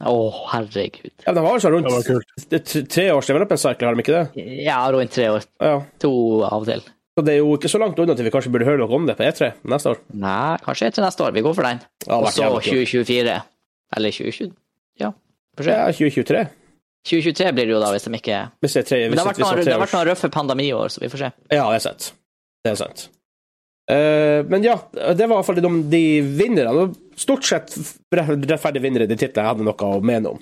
Speaker 5: Å, herregud.
Speaker 1: Ja, De har jo sånn
Speaker 2: Det var
Speaker 1: rundt
Speaker 2: kult.
Speaker 1: t- tre års development cycle, har de ikke det?
Speaker 5: Ja, rundt tre år.
Speaker 1: Ja.
Speaker 5: To av og til.
Speaker 1: Så det er jo ikke så langt unna til vi kanskje burde høre noe om det på E3 neste år.
Speaker 5: Nei, kanskje til neste år. Vi går for den.
Speaker 1: Det hadde
Speaker 5: Og
Speaker 1: vært
Speaker 5: så
Speaker 1: jævlig kult.
Speaker 5: 2024. Eller 2020 Ja. Får se.
Speaker 1: Ja, 2023.
Speaker 5: 2023 blir det jo da, hvis de ikke
Speaker 1: Hvis det er tre,
Speaker 5: Men
Speaker 1: hvis
Speaker 5: det har vært
Speaker 1: hvis
Speaker 5: noen,
Speaker 1: er
Speaker 5: det
Speaker 1: tre
Speaker 5: har
Speaker 1: år.
Speaker 5: vært noen røffe pandemiår, så vi får se.
Speaker 1: Ja, det er sant. Det er sant. Eh, men ja, det var i hvert fall de, de vinnerne. Det var Stort sett rettferdige vinnere i de titlene jeg hadde noe å mene om.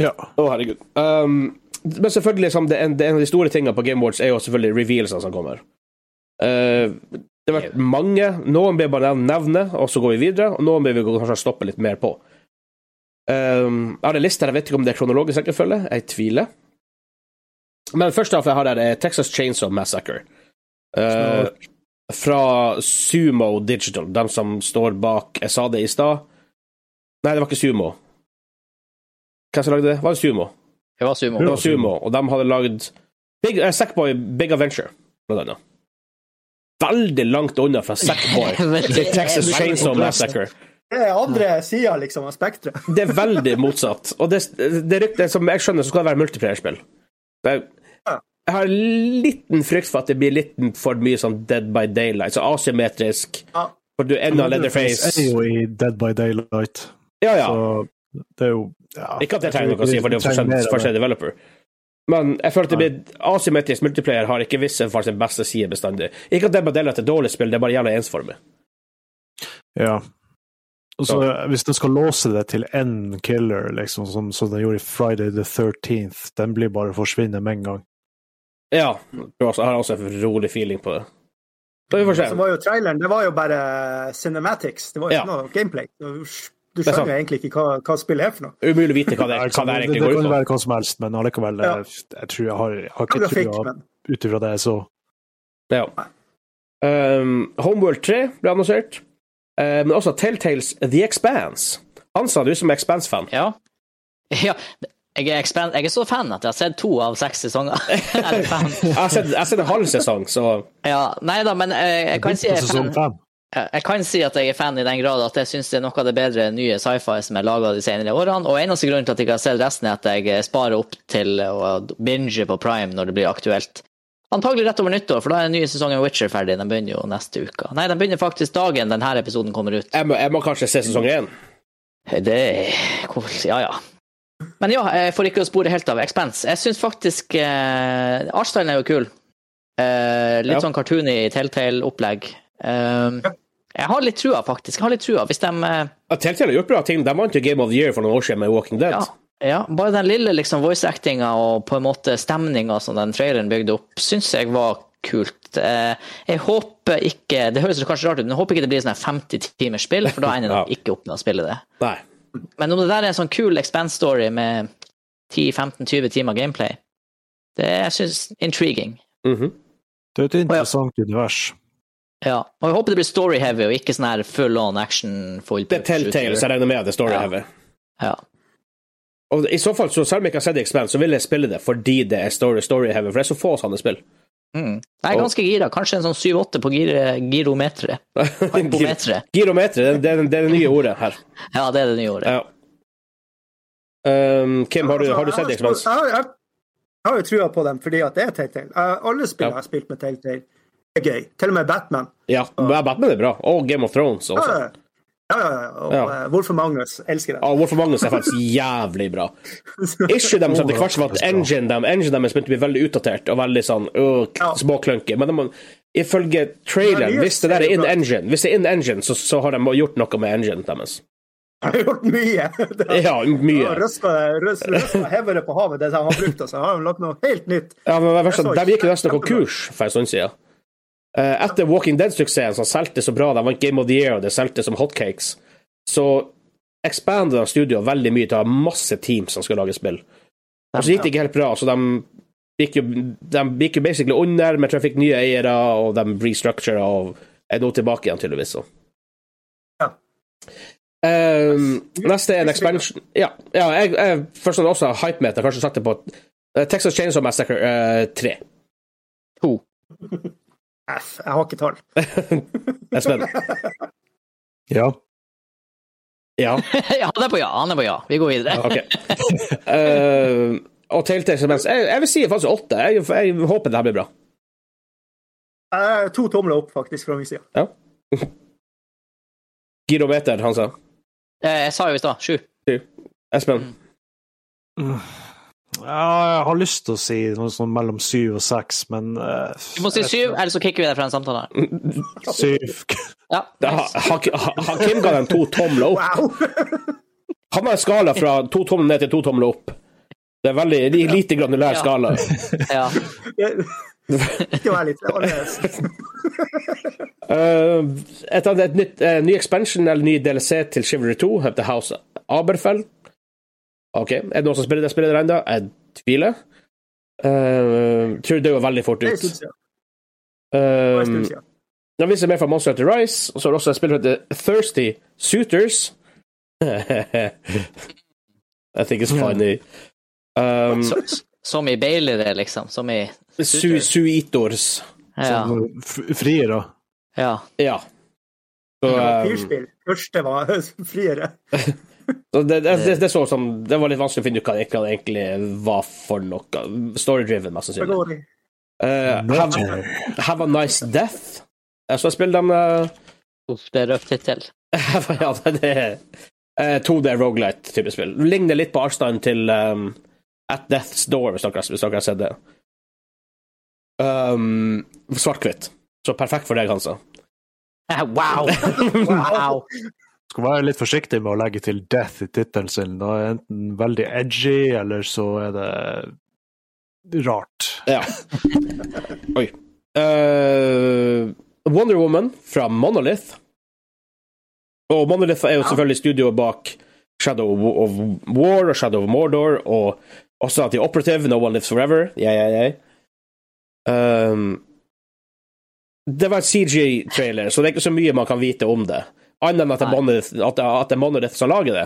Speaker 2: Ja.
Speaker 1: Å, herregud. Um, Men selvfølgelig, som det, en, det, en av de store tingene på Game Awards er jo selvfølgelig revealsene som kommer. Eh, det har vært mange. Noen ber bare nevne navnet, og så går vi videre. Og noen ber vi kanskje stoppe litt mer på. Um, jeg har en liste her, jeg vet ikke om det er kronologisk rekkefølge. Jeg tviler. Men først av jeg har her, er Texas Chainsaw Massacre. Eh, fra Sumo Digital, de som står bak Jeg sa det i stad. Nei, det var ikke Sumo. Hvem som lagde det? Var det Sumo?
Speaker 5: Det var sumo.
Speaker 1: Det var Sumo, og de hadde lagd Big, eh, Sackboy Big Adventure, blant annet. Veldig langt unna fra Sackboy
Speaker 5: Veldig-
Speaker 1: til Texas
Speaker 5: veldig
Speaker 1: Chainsaw
Speaker 5: oppløst.
Speaker 1: Massacre.
Speaker 3: Det er andre sida liksom, av spekteret.
Speaker 1: Det er veldig motsatt. Og det, det ryktet som jeg skjønner, så skal det være multiplayerspill. Jeg, jeg har en liten frykt for at det blir litt for mye sånn Dead by Daylight, så asymmetrisk.
Speaker 3: Ja.
Speaker 1: For du ender Leatherface
Speaker 2: er jo i Dead by Daylight,
Speaker 1: Ja, ja.
Speaker 2: så det er jo ja.
Speaker 1: Ikke at det trenger noe å si, for det er jo
Speaker 2: trenger mer
Speaker 1: forskjellig,
Speaker 2: av
Speaker 1: forskjellig developer. Men jeg følte det blir asymmetrisk multiplayer har ikke vist seg for sin beste side bestandig. Ikke at Dead by Daylight er et dårlig spill, det er bare jævla ensformig.
Speaker 2: Ja. Og så Hvis den skal låse det til én killer, liksom, som, som den gjorde i Friday the 13th, den blir bare forsvinne med en gang.
Speaker 1: Ja. Jeg har også en rolig feeling på det. Så vi får se.
Speaker 3: Så var jo traileren det var jo bare cinematics. Det var jo
Speaker 1: Ja.
Speaker 3: ikke noe gameplay. Du, du
Speaker 1: er sant.
Speaker 3: skjønner jo egentlig ikke hva, hva spillet er for noe.
Speaker 1: Umulig å vite hva det,
Speaker 2: Ja,
Speaker 1: hva
Speaker 2: liksom,
Speaker 1: det her
Speaker 2: det,
Speaker 1: egentlig
Speaker 2: det
Speaker 1: går ut
Speaker 2: kan jo
Speaker 1: på.
Speaker 2: være hva som helst, men allikevel
Speaker 3: Ja.
Speaker 2: eh, Jeg tror jeg har, jeg har ikke
Speaker 3: Grafikk,
Speaker 2: trua
Speaker 3: men
Speaker 2: ut ifra det, så
Speaker 1: Ja. Um, Homeworld 3 ble annonsert, Eh, men også Telltales The Expanse. Han sa du som er Expanse-fan.
Speaker 5: Ja. ja. Jeg er, ekspan- jeg er så fan at jeg har sett to av seks sesonger. Jeg er fan.
Speaker 1: Jeg har sett jeg har sett en halv sesong, så
Speaker 5: Ja, nei da, men jeg, jeg, kan si jeg, er
Speaker 2: sesong
Speaker 5: fan,
Speaker 2: fem.
Speaker 5: Ja, Eh, jeg kan si at jeg er fan i den grad at jeg syns det er noe av det bedre nye sci-fi som er laga de senere årene. Og eneste grunnen til at jeg ikke har sett resten, er at jeg eh, sparer opp til å binge på Prime når det blir aktuelt. Antagelig rett over nyttår, for da er den nye sesongen av Witcher ferdig. Den begynner jo neste uke. Nei, den begynner faktisk dagen denne episoden kommer ut.
Speaker 1: jeg må, jeg må kanskje se sesong én.
Speaker 5: Det hvor- Ja, ja. Men ja, jeg får ikke å spore helt av Expense. Jeg syns faktisk eh, Artstylen er jo kul. Eh, litt
Speaker 1: Ja.
Speaker 5: sånn cartoony Telltale-opplegg. Eh, Jeg har litt trua, faktisk. Jeg har litt trua. Hvis de eh,
Speaker 1: Ja, Telltale har gjort bra ting. De vant jo Game of the Year for noen år siden med Walking Dead.
Speaker 5: ja, ja, bare den lille liksom, voice-actinga og på en måte stemninga som den traileren bygde opp, syns jeg var kult. Eh, jeg håper ikke Det høres kanskje rart ut, men jeg håper ikke det blir sånn her 50 timers spill, for da ender jeg nok
Speaker 1: Ja.
Speaker 5: ikke opp med å spille det.
Speaker 1: Nei.
Speaker 5: Men om det der er en sånn kul expense-story med 10-15-20 timer gameplay, det er, jeg synes intriguing.
Speaker 1: Mhm.
Speaker 2: Det er jo et interessant univers.
Speaker 5: Ja. Og jeg håper det blir story-heavy og ikke sånn her full on action. full
Speaker 1: Det er Telltale, så jeg regner med det står
Speaker 5: Ja.
Speaker 1: der hevet.
Speaker 5: Ja.
Speaker 1: Og I så fall, så selv om jeg ikke har sett Expanse, så vil jeg spille det fordi det er story story heavy, for det er så få sånne spill.
Speaker 5: Mm. Jeg er ganske gira. Kanskje en sånn 7-8 på gir girometeret.
Speaker 1: Gir-
Speaker 5: Hypometeret.
Speaker 1: Girometre, det, det, det er det nye ordet her.
Speaker 5: Ja, det er det nye ordet.
Speaker 1: Ja. Um, Kim, har du, har du
Speaker 3: Altså,
Speaker 1: sett
Speaker 3: jeg har-
Speaker 1: Expanse?
Speaker 3: Jeg, har- jeg, jeg har jo trua på dem fordi at det er Telltale. Jeg- Alle spill
Speaker 1: Ja.
Speaker 3: jeg har spilt med Telltale, er gøy. Til og med Batman.
Speaker 1: Ja, men Batman er bra. Og Game of Thrones
Speaker 3: Ja,
Speaker 1: også.
Speaker 3: ja, ja. ja. Og
Speaker 1: Ja.
Speaker 3: ja. Wolf Among Us. Elsker det.
Speaker 1: Ja, Ah, Wolf Magnus er faktisk jævlig bra. Ikke de som etter hvert som at engine dem, engine dem begynte å bli veldig utdatert og veldig sånn øh,
Speaker 3: Ja.
Speaker 1: småklunky. Men de, må- ifølge traileren,
Speaker 3: Ja, det er
Speaker 1: hvis det der er in
Speaker 3: bra.
Speaker 1: engine, hvis det er in engine, så, så har de gjort noe med engine deres.
Speaker 3: Jeg har gjort mye.
Speaker 1: Ja, mye.
Speaker 3: Røska, røska, røska hevere på havet, det har han brukt. Altså. Han har lagt noe helt nytt.
Speaker 1: Ja, men det verste, er at
Speaker 3: Jeg så
Speaker 1: De gikk jo
Speaker 3: ikke-
Speaker 1: nesten konkurs for en stund siden. Eh, etter Walking Dead-suksessen, som solgte så bra, de vant Game of the Year, og det solgte som hotcakes, så expandet de studioet veldig mye til å ha masse teams som skulle lage spill. Og så gikk det ikke helt bra, så de gikk jo, de gikk jo basically under, men tror jeg fikk nye eiere, og de restructura og er nå tilbake igjen, tydeligvis. Så.
Speaker 3: Ja.
Speaker 1: Ehm, neste er en expansion Ja, ja jeg, jeg først og fremst også hypemeter. Kanskje satte på eh, Texas Chainsaw Massacre eh, 3.
Speaker 3: F, jeg har ikke tall.
Speaker 1: Jeg er spent.
Speaker 2: Ja.
Speaker 1: Ja,
Speaker 5: ja, han er på ja. Han er på ja. Vi går videre.
Speaker 1: OK. Ehm, og Telltale Semens jeg, jeg vil si faktisk åtte. Jeg, jeg håper det her blir bra.
Speaker 3: Eh, To tomler opp, faktisk, fra min side.
Speaker 1: Girometer, han sa.
Speaker 5: Eh, Jeg sa jo i stad sju.
Speaker 1: Espen.
Speaker 2: ja. Jeg har lyst til å si noe sånn mellom syv og seks, men eh,
Speaker 5: Du må si syv, eller så kicker vi deg fra en samtale. her.
Speaker 2: Syv.
Speaker 5: Ja.
Speaker 1: Da, ha, ha, ha, Kim ga dem to tomler opp.
Speaker 3: Wow!
Speaker 1: Han har en skala fra to tomler ned til to tomler opp. Det er veldig det er lite granulær
Speaker 5: Ja.
Speaker 1: skala.
Speaker 5: Ja.
Speaker 3: Ikke vær litt annerledes.
Speaker 1: Eh, et, annet- et nytt, eh, ny expansion eller ny DLC til Chivalry 2 heter House Aberfell. OK. Er det noen som spiller det spillet der ennå? Jeg tviler. Eh, tror det går veldig fort
Speaker 3: Det er
Speaker 1: ut.
Speaker 3: en stund siden. Det er
Speaker 1: Um,
Speaker 3: en stund siden.
Speaker 1: det viser mer fra Monster Hunter Rise, og så er det også et spill som heter Thirsty Suitors. I think it's funny. Um,
Speaker 5: Så, som i Bailey, liksom. Som i
Speaker 1: su suitors.
Speaker 5: Ja.
Speaker 2: Sånn, f- Friere.
Speaker 5: ja.
Speaker 1: Ja. Så, um,
Speaker 3: Fyrspill. Første var friere.
Speaker 1: så det, det, det, det så ut som Det var litt vanskelig å finne ut hva det hva det egentlig var for noe. Story-driven, mest
Speaker 3: Det
Speaker 1: sannsynlig.
Speaker 3: går i.
Speaker 1: Uh, have, have a nice death. Jeg så spiller de uh,
Speaker 5: Uff, det er røff tittel.
Speaker 1: ja, det er eh, 2D roguelite-type spill. Ligner litt på avstanden til um, At Death's Door, hvis dere, hvis dere har sett det. Um, Svart-hvitt. Så perfekt for deg, Hansa.
Speaker 5: Wow! wow.
Speaker 2: Skal være litt forsiktig med å legge til 'death' i tittelen sin. Da er det enten veldig edgy, eller så er det rart.
Speaker 1: Ja. Oi. Eh, Wonder Woman fra Monolith. Og Monolith er jo selvfølgelig studioet bak Shadow of War og Shadow of Mordor, og også at de er operative, No One Lives Forever. Jeg, jeg, jeg. Um, det var en CG-trailer, så det er ikke så mye man kan vite om det. Annet enn at det er
Speaker 5: Nei.
Speaker 1: Monolith, at det- at det er Monolith som lager det.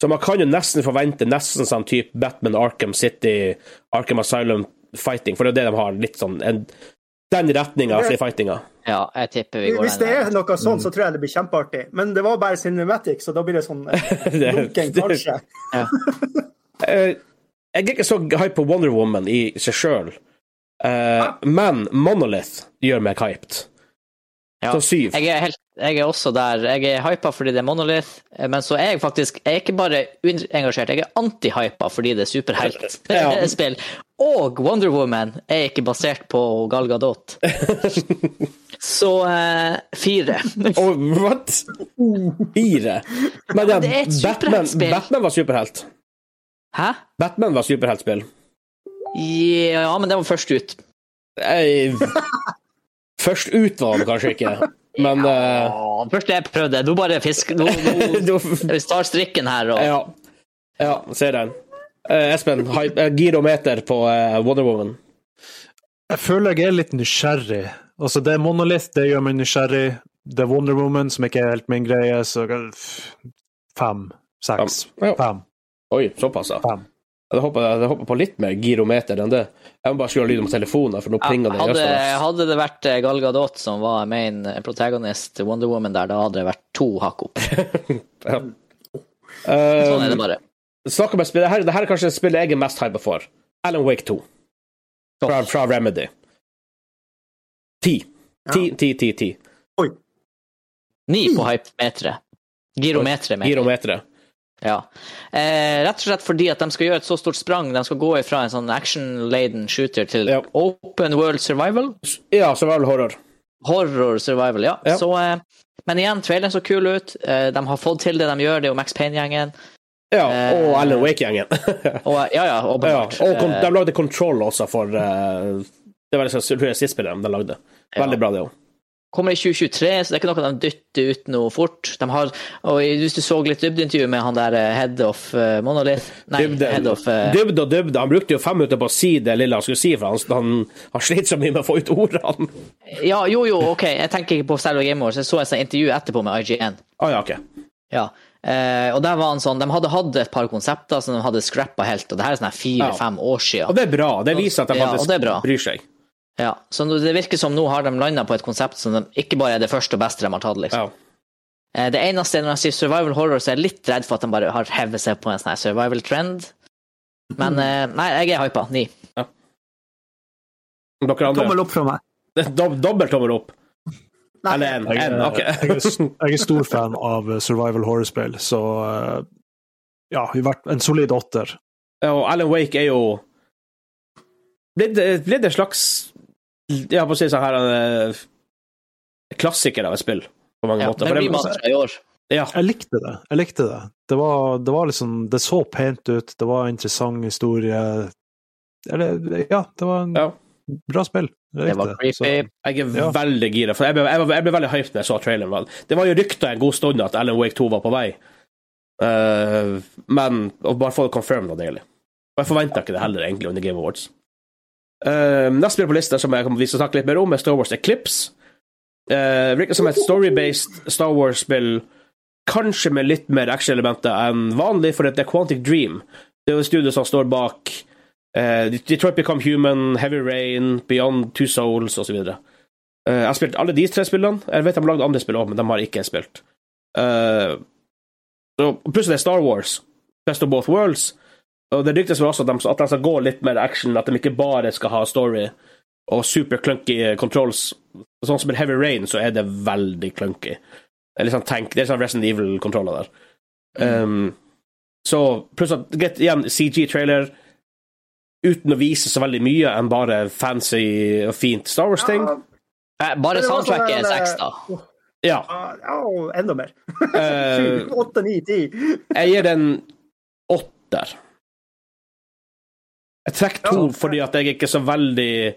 Speaker 1: Så man kan jo nesten forvente nesten sånn type Batman Arkham City, Arkham Asylum fighting, for det er det de har litt sånn en, Den retninga av fightinga.
Speaker 5: Ja, jeg tipper vi går
Speaker 3: Hvis det er
Speaker 5: den der.
Speaker 3: noe sånn, så tror jeg det blir kjempeartig. Men det var bare cinematic, så da blir det sånn eh, lunken, kanskje.
Speaker 1: Eh, jeg er ikke så hype på Wonder Woman i seg sjøl,
Speaker 5: Ah.
Speaker 1: men Monolith gjør meg hyped.
Speaker 5: Ja.
Speaker 1: Så syv.
Speaker 5: Jeg er, helt, jeg er også der. Jeg er hypa fordi det er Monolith, eh, men så er jeg faktisk jeg er ikke bare uengasjert, jeg er anti-hypa fordi det er
Speaker 1: Ja.
Speaker 5: superheltspill. Og Wonder Woman er ikke basert på Gal Gadot. Så eh, fire.
Speaker 1: Og what? Fire. Men
Speaker 5: det er
Speaker 1: ja,
Speaker 5: et
Speaker 1: Batman,
Speaker 5: superheltspill.
Speaker 1: Batman var superhelt.
Speaker 5: Hæ?
Speaker 1: Batman var superheltspill.
Speaker 5: Ja, men det var først ut.
Speaker 1: Jeg- Først ut var han kanskje ikke, men eh,
Speaker 5: Åh, Først jeg prøvde. Nå bare fisk Nå, nå vi tar strikken her og
Speaker 1: Ja. ja ser den. Eh, Espen, hype, eh, girometer på eh, Wonder Woman.
Speaker 2: Jeg føler jeg er litt nysgjerrig. Altså, det er Monolith, det gjør meg nysgjerrig. Det er Wonder Woman, som ikke er helt min greie, så f- fem, seks,
Speaker 1: Fem, ja.
Speaker 2: fem,
Speaker 1: Oi, såpass, ja.
Speaker 2: fem.
Speaker 1: Jeg håper, jeg håper på litt mer girometer enn det. Jeg må bare skru av lyden på telefonen, for nå
Speaker 5: Ja,
Speaker 1: plinger det. i
Speaker 5: hadde,
Speaker 1: østene.
Speaker 5: hadde det vært eh, Gal Gadot som var main eh, protagonist til Wonder Woman der, da hadde det vært to hakk opp. Sånn er det
Speaker 1: Eh,
Speaker 5: bare.
Speaker 1: Snakk om et spill. Det her, det her er kanskje spillet jeg er mest hypa for. Alan Wake 2. Fra, fra Remedy. Ti. Ti, ti, ti, ti.
Speaker 3: Oi.
Speaker 5: Ni
Speaker 1: hmm.
Speaker 5: på hypemeteret. Girometeret, mener jeg.
Speaker 1: Girometeret.
Speaker 5: Ja. Eh, rett og slett fordi at de skal gjøre et så stort sprang. De skal gå ifra en sånn action-laden shooter til
Speaker 1: Ja.
Speaker 5: open world survival.
Speaker 1: Ja, så var det horror.
Speaker 5: Horror survival, ja.
Speaker 1: Ja.
Speaker 5: Så, eh, men igjen, traileren så kul ut. Eh, de har fått til det de gjør, det er jo Max Payne-gjengen.
Speaker 1: Ja,
Speaker 5: Eh,
Speaker 1: og Alan Wake-gjengen.
Speaker 5: Og ja, ja,
Speaker 1: ja,
Speaker 5: åpenbart.
Speaker 1: og kon-
Speaker 5: Eh,
Speaker 1: de lagde Control også for eh, Det var det som- tror jeg sist spillet de lagde. Veldig bra, det òg.
Speaker 5: kommer i 2023, så det er ikke noe de dytter ut noe fort. De har, og Hvis du så litt dybdeintervju med han der eh, head of eh, Monolith Nei, head of eh,
Speaker 1: Dybde og dybde. Han brukte jo fem minutter på å si det lille han skulle si, for han, han, han slet så mye med å få ut ordene.
Speaker 5: Ja, jo, jo, OK, jeg tenker ikke på selve Game Awards. Jeg så et sånt intervju etterpå med IGN.
Speaker 1: Å ja, OK.
Speaker 5: Ja. Eh, og der var han sånn, De hadde hatt et par konsepter som de hadde scrappa helt, og det her er sånn
Speaker 1: Ja.
Speaker 5: fire-fem år siden.
Speaker 1: Og det er bra. Det viser at de
Speaker 5: Ja, og det er
Speaker 1: faktisk
Speaker 5: bra.
Speaker 1: bryr seg.
Speaker 5: Ja, så nå- det virker som nå har de landa på et konsept som de, ikke bare er det første og beste de har tatt. liksom.
Speaker 1: Ja.
Speaker 5: Eh, Det eneste når jeg sier survival horror, så er jeg litt redd for at de bare har hevet seg på en sånn her survival trend. Men
Speaker 1: Mm.
Speaker 5: eh, nei, jeg er hypa. Ni.
Speaker 1: Dere andre?
Speaker 3: Tommel opp fra meg.
Speaker 1: Dob dobbelt tommel opp?
Speaker 3: Nei,
Speaker 1: Eller en?
Speaker 2: Jeg,
Speaker 1: en
Speaker 2: er-
Speaker 1: ok.
Speaker 2: jeg, er, s- jeg er stor fan av eh, survival horror-spill, så eh, ja, vi har vært en solid åtter.
Speaker 1: Ja, Og Alan Wake er jo Blitt blitt en slags Jeg holdt på å si sånn her en, eh, klassiker av et spill, på mange
Speaker 5: Ja,
Speaker 1: måter.
Speaker 5: det
Speaker 1: For
Speaker 5: blir
Speaker 1: det,
Speaker 5: mantra i år.
Speaker 1: Ja.
Speaker 2: Jeg likte det. Jeg likte det. Det var, det var liksom Det så pent ut, det var en interessant historie. Eller, ja, det var en
Speaker 1: ja.
Speaker 2: bra spill. Jeg
Speaker 5: Det
Speaker 2: likte
Speaker 5: var creepy.
Speaker 2: Så-
Speaker 1: Jeg er
Speaker 2: Ja.
Speaker 1: veldig gira. For jeg ble, jeg, ble, jeg ble veldig hyped da jeg så traileren. vel. Det var jo rykter en god stund at Alan Wake 2 var på vei. Eh, men å bare få det confirmed var deilig. Og jeg forventa ikke det heller, egentlig, under Game Awards. Eh, neste spill på lista som jeg kommer vi skal snakke litt mer om, er Star Wars Eclipse. Eh, virker som et story-based Star Wars-spill, kanskje med litt mer action-elementer enn vanlig, for det er Quantic Dream. Det er jo et studio som står bak eh, Detroit Become Human, Heavy Rain, Beyond Two Souls osv. videre Eh, jeg har spilt alle de tre spillene. Jeg vet de har lagd andre spill òg, men de har ikke jeg spilt. Eh, så- plutselig er det Star Wars. Best of both worlds. Og det ryktes vel også at de, at de skal gå litt mer action, at de ikke bare skal ha story og super clunky controls. Sånn som i Heavy Rain, så er det veldig clunky. Det er litt sånn, tank, det er sånn Resident Evil-kontroller der. Um, så pluss at Get igjen CG-trailer uten å vise så veldig mye enn bare fancy og fint Star Wars-ting.
Speaker 3: Ja,
Speaker 5: Eh, Bare
Speaker 3: det var sånn
Speaker 5: soundtracket er
Speaker 3: der,
Speaker 5: seks, da.
Speaker 1: Ja.
Speaker 3: ja, ja, enda mer.
Speaker 1: eh,
Speaker 3: Sju, Åtte, ni, ti.
Speaker 1: jeg gir den åtter. Jeg trekker to
Speaker 3: Ja.
Speaker 1: fordi at jeg ikke er så veldig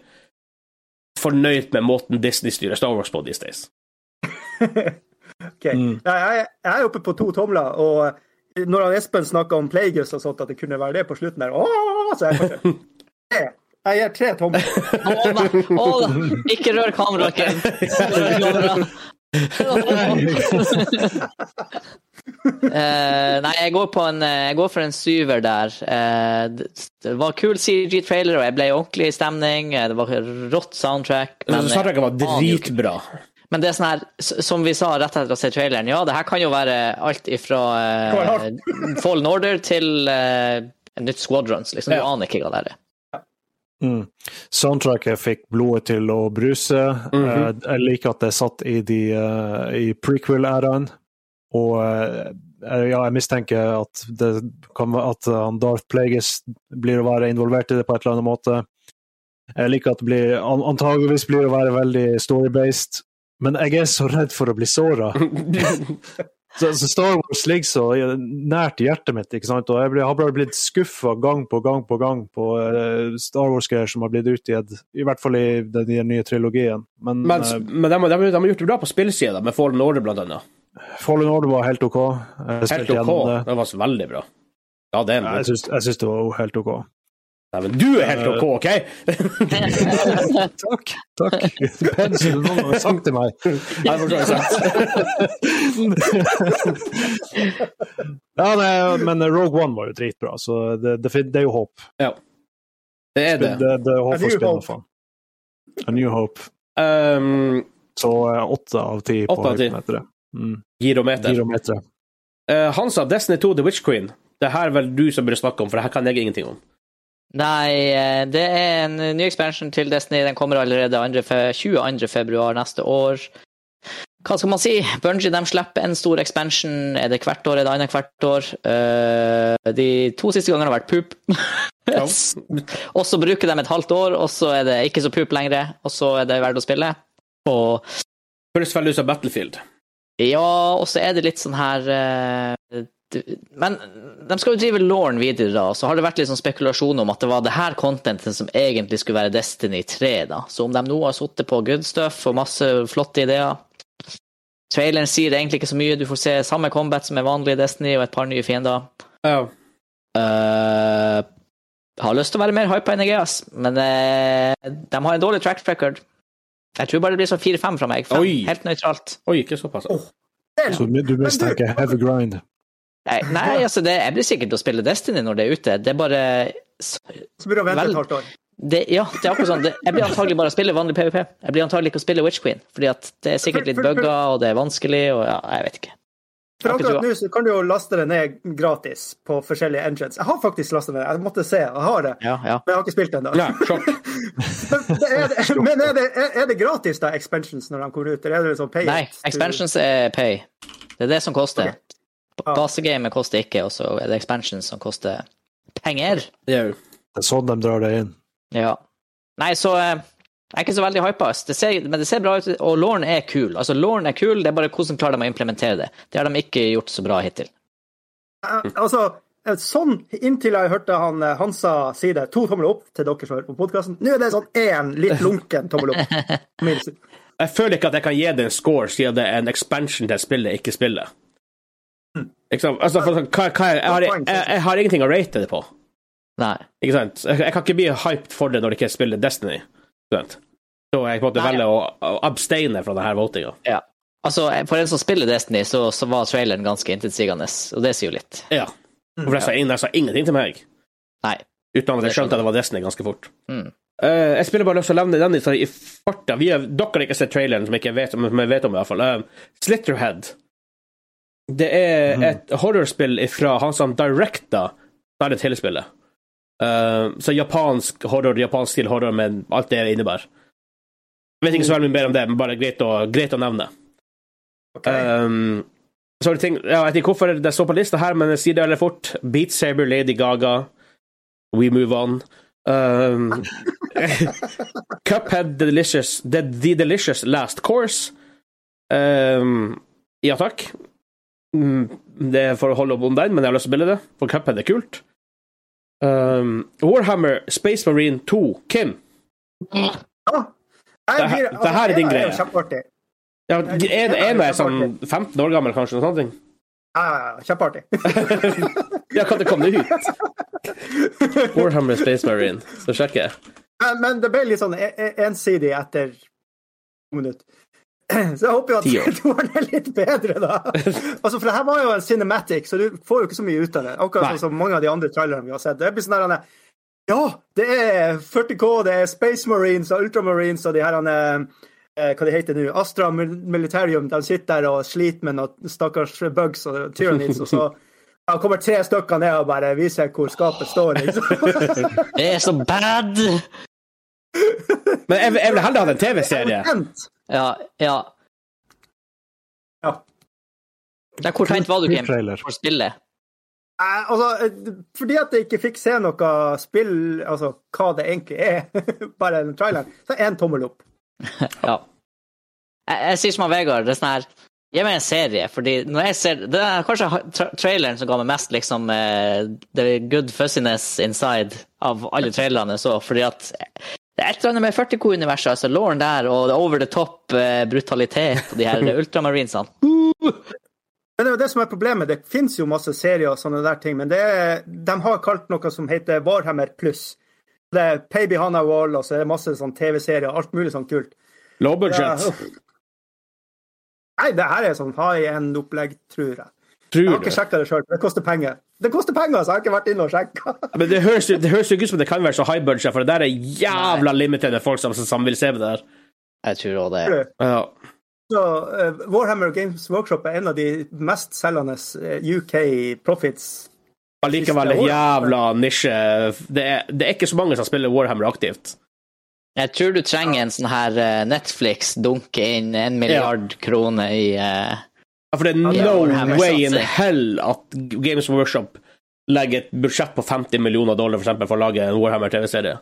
Speaker 1: fornøyd med måten Disney styrer Star Wars på these days.
Speaker 3: Ok.
Speaker 2: Mm.
Speaker 3: Nei, jeg, jeg er oppe på to tomler, og eh, når han Espen snakka om Plagueis og sånt, at det kunne være det på slutten der Åh, så jeg, Tre. jeg gir tre tomler.
Speaker 5: Å, nei. Å, nei. ikke rør kameraet, Kim. Ikke rør kameraet. Eh, nei, jeg går, på en, eh, jeg går for en syver der. Eh, det det var kul CG-trailer, og jeg ble i ordentlig stemning. eh, Det var rått soundtrack.
Speaker 1: Men, så Star Trek var
Speaker 5: jeg aner jo ikke-
Speaker 1: dritbra.
Speaker 5: men det er sånn her, s- som vi sa rett etter å se traileren, ja, det her kan jo være alt ifra eh, Fallen Order til eh, nytt Squadrons, liksom. Du
Speaker 1: Ja.
Speaker 5: aner ikke hva det er.
Speaker 2: Mm. Soundtracket fikk blodet til å bruse.
Speaker 1: Mhm.
Speaker 2: Eh, Jeg liker at det er satt i, de, eh, i prequel-æraen. Og eh, ja, jeg mistenker at, det kan, være- at eh, han Darth Plagueis blir å være involvert i det på et eller annet måte. Jeg liker at det blir, an- antageligvis blir å være veldig story-based. Men jeg er så redd for å bli såra. Så, så Star Wars ligger så nært hjertet mitt, ikke sant? og jeg blir, har bare blitt skuffa gang på gang på gang på eh, Star Wars-greier som har blitt utgitt, i hvert fall i den, den nye trilogien. Men,
Speaker 1: Men,
Speaker 2: eh,
Speaker 1: men de, har- de, har- de har gjort det bra på spillsida, med Fallen Order blant annet.
Speaker 2: Fallen Order var helt OK. Jeg
Speaker 1: Helt
Speaker 2: spilte
Speaker 1: OK.
Speaker 2: gjennom det.
Speaker 1: Det var så veldig bra. Ja, det er
Speaker 2: Ja,
Speaker 1: en
Speaker 2: Jeg
Speaker 1: god.
Speaker 2: syns- jeg syns det var helt OK.
Speaker 1: Nei, men du er helt OK, OK?
Speaker 2: Takk. takk. Det peneste noen har sagt til meg.
Speaker 1: Ja, det forstår jeg sant.
Speaker 2: ja, nei, men Rogue One var jo dritbra, så det, det, fin- det er jo håp.
Speaker 1: Det er
Speaker 2: Det,
Speaker 1: det.
Speaker 2: det, det er
Speaker 3: A
Speaker 2: håp
Speaker 3: new
Speaker 2: for
Speaker 3: hope.
Speaker 2: spillet. A New Hope.
Speaker 1: Um,
Speaker 2: Så eh, åtte av ti på
Speaker 1: Åtte av ti.
Speaker 2: høyden etter det. Mm.
Speaker 1: Girometer.
Speaker 2: Girometer.
Speaker 1: Eh, Hansa, Destiny 2 The Witch Queen. Det her er vel du som burde snakke om, for det her kan jeg ingenting om.
Speaker 5: Nei, eh, det er en ny expansion til Destiny. Den kommer allerede 2. fe- 22. februar neste år. Hva skal man si? Bungie de slipper en stor expansion. Er det hvert år, er det annet hvert år? Eh, De to siste gangene har vært poop.
Speaker 1: Ja.
Speaker 5: Og så bruker de et halvt år, og så er det ikke så poop lenger. Og så er det verdt å spille. Og
Speaker 1: Høres veldig ut som Battlefield.
Speaker 5: ja, og så er det litt sånn her eh, d- Men de skal jo drive Lauren videre, da. Så har det vært litt sånn spekulasjon om at det var det her contentet som egentlig skulle være Destiny 3, da. Så om de nå har sittet på good stuff og masse flotte ideer Traileren sier egentlig ikke så mye. Du får se samme combat som er vanlig i Destiny, og et par nye fiender.
Speaker 1: Ja.
Speaker 5: Eh, har lyst til å være mer hypa enn jeg er, E ass. Men eh, de har en dårlig track record. Jeg tror bare det blir sånn 4-5 fra meg. Fem.
Speaker 1: Oi.
Speaker 5: Helt nøytralt.
Speaker 1: Oi, ikke såpass.
Speaker 3: Åh. Vel,
Speaker 1: Altså,
Speaker 2: Så du mistenker heavy grind.
Speaker 5: Nei, nei altså det, jeg blir sikkert til å spille Destiny når det er ute. Det er bare
Speaker 3: Så burde han vente
Speaker 5: Vel.
Speaker 3: et halvt år.
Speaker 5: det, Ja, det er akkurat sånn. Det, jeg blir antagelig bare å spille vanlig PVP. Jeg blir antagelig ikke å spille Witch Queen, fordi at det er sikkert litt bugger, og det er vanskelig, og ja, jeg vet ikke.
Speaker 3: For
Speaker 5: Takk,
Speaker 3: akkurat
Speaker 5: Tua.
Speaker 3: nå så kan du jo laste det ned gratis på forskjellige engines. Jeg har faktisk lastet det ned, jeg måtte se. Jeg har det,
Speaker 5: Ja, ja.
Speaker 3: men jeg har ikke spilt det ennå.
Speaker 1: Nei, sjokk.
Speaker 3: Men, det er, det- men er, det, er, er det gratis, da, expansions, når de kommer ut? Eller er det sånn pay
Speaker 5: Nei,
Speaker 3: it to-
Speaker 5: expansions er pay. Det er det som koster.
Speaker 3: Ok.
Speaker 5: Ba- Basegamet koster ikke, og så er det expansions som koster penger.
Speaker 1: Det er jo
Speaker 2: Det er sånn de drar det inn.
Speaker 5: Ja. Nei, så eh, Jeg er ikke så veldig hypa, det ser, men det ser bra ut. Og Lauren er kul. Altså, Lauren er kul, det er bare hvordan klarer de å implementere det. Det har de ikke gjort så bra hittil.
Speaker 3: Eh, Altså, eh, sånn inntil jeg hørte han eh, Hansa si det, to tommel opp til dere som hører på podkasten. Nå er det sånn én litt lunken tommel opp. Minst.
Speaker 1: Jeg føler ikke at jeg kan gi det en score, siden det er en expansion til spillet, ikke spillet. Ikke sant? Altså, for, sånn, hva, hva, jeg, har, jeg, jeg har ingenting å rate det på.
Speaker 5: Nei.
Speaker 1: Ikke sant? Jeg, jeg kan ikke bli hyped for det når det ikke er spillet Destiny. Ikke sant? Så jeg på en måte
Speaker 5: Nei.
Speaker 1: velger å, å abstaine fra denne votinga.
Speaker 5: Ja. Altså, for en som spiller Destiny, så, så var traileren ganske intetsigende, og det sier jo litt.
Speaker 1: Ja. For jeg sa, ingen- jeg sa ingenting til meg,
Speaker 5: Nei.
Speaker 1: uten at
Speaker 5: Det
Speaker 1: jeg skjønte at det var Destiny ganske fort.
Speaker 5: Mm.
Speaker 1: Eh, jeg spiller bare lyst til å nevne den i, i farta. Vi er, dere har ikke sett traileren, som jeg ikke vet, men som jeg vet om, i hvert fall. Eh, Slitterhead. Det er et horrorspill fra han som directa Silent Hill-spillet. Eh, så japansk horror, japansk stil horror, med alt det innebærer. Jeg vet ikke så veldig mye mer om det, men bare greit å, greit å nevne.
Speaker 3: Ok.
Speaker 1: Um, så har du ting, ja, jeg vet ikke hvorfor det står på lista her, men jeg sier det veldig fort. Beat Saber, Lady Gaga, We Move On. Um, Cuphead, The Delicious, The, The Delicious Last Course. Um, ja takk. Mm, Det er for å holde opp om den, men jeg har lyst til å spille det, for Cuphead er kult. Um, Warhammer Space Marine 2. Kim?
Speaker 3: Ja. Jeg
Speaker 1: Det her-
Speaker 3: blir-
Speaker 1: det her er din
Speaker 3: ena
Speaker 1: greie.
Speaker 3: jo Kjempeartig.
Speaker 1: Ja, en, en er sånn 15 år gammel, kanskje, noe sånt. ting.
Speaker 3: Ja, ja, ja, kjempeartig.
Speaker 1: Ja, når kom det ut? Warhammer Space Marine. Så sjekker jeg.
Speaker 3: Men, men det ble litt sånn e- e- ensidig etter to minutter. Så jeg håper jo
Speaker 1: Ti år.
Speaker 3: at toeren er litt bedre, da. Altså, For det her var jo en cinematic, så du får jo ikke så mye ut av det. Akkurat
Speaker 1: Nei.
Speaker 3: sånn som mange av de andre trailerne vi har sett. Det blir sånn der, han er, Ja, det er 40K, det er Space Marines og Ultramarines og de her han er, eh, hva de heter nå, Astra Mil- Militarium, de sitter der og sliter med noen stakkars bugs og tyrannids, og så ja, kommer tre stykker ned og bare viser hvor skapet står, liksom.
Speaker 5: Det er så bad!
Speaker 1: Men jeg, jeg ville heller hatt en TV-serie.
Speaker 3: Potent.
Speaker 5: Ja, ja.
Speaker 3: Ja.
Speaker 5: Men hvor seint var du, Kim,
Speaker 2: Trailer.
Speaker 5: for spillet?
Speaker 3: Nei, altså, eh, fordi at jeg ikke fikk se noe spill, altså hva det egentlig er, bare den traileren, så én tommel opp.
Speaker 5: Ja. Jeg, jeg sier som han Vegard, det er sånn her Gi meg en serie, fordi når jeg ser Det er kanskje ha- tra traileren som ga meg mest liksom eh, the good fussiness inside av alle trailerne jeg så, fordi at det er et eller annet med 40K-universet, altså Lauren der og the over the top eh, brutalitet og de her ultramarinesene.
Speaker 3: Men det er jo det som er problemet. Det fins jo masse serier og sånne der ting, men det er, de har kalt noe som heter Warhammer pluss. Det er Pay Behind a Wall, og så er det masse sånn TV-serier og alt mulig sånn kult.
Speaker 1: Low
Speaker 3: Ja,
Speaker 1: budget.
Speaker 3: uff. Nei, det her er sånn high end-opplegg, tror jeg. Jeg
Speaker 1: Tror
Speaker 3: har
Speaker 1: du?
Speaker 3: ikke sjekka det sjøl, det koster penger. Det koster penger, så jeg har ikke vært inne og sjekka.
Speaker 1: Men det høres, jo- det høres jo ikke ut som det kan være så high budget, for det der er jævla limited folk som, som vil se på det der.
Speaker 5: Jeg tror også det.
Speaker 1: Ja.
Speaker 3: Så eh, Warhammer Games Workshop er en av de mest selgende eh, UK profits.
Speaker 1: Allikevel en jævla nisje. Det er, det er ikke så mange som spiller Warhammer aktivt.
Speaker 5: Jeg tror du trenger en sånn her eh, Netflix dunke inn en milliard kroner i eh,
Speaker 1: Ja, For det
Speaker 5: det
Speaker 1: er
Speaker 5: er
Speaker 1: no
Speaker 5: Warhammer,
Speaker 1: way in
Speaker 5: sant?
Speaker 1: hell at Games Workshop legger et budsjett på 50 millioner dollar for, eksempel, for å lage en Warhammer TV-serie.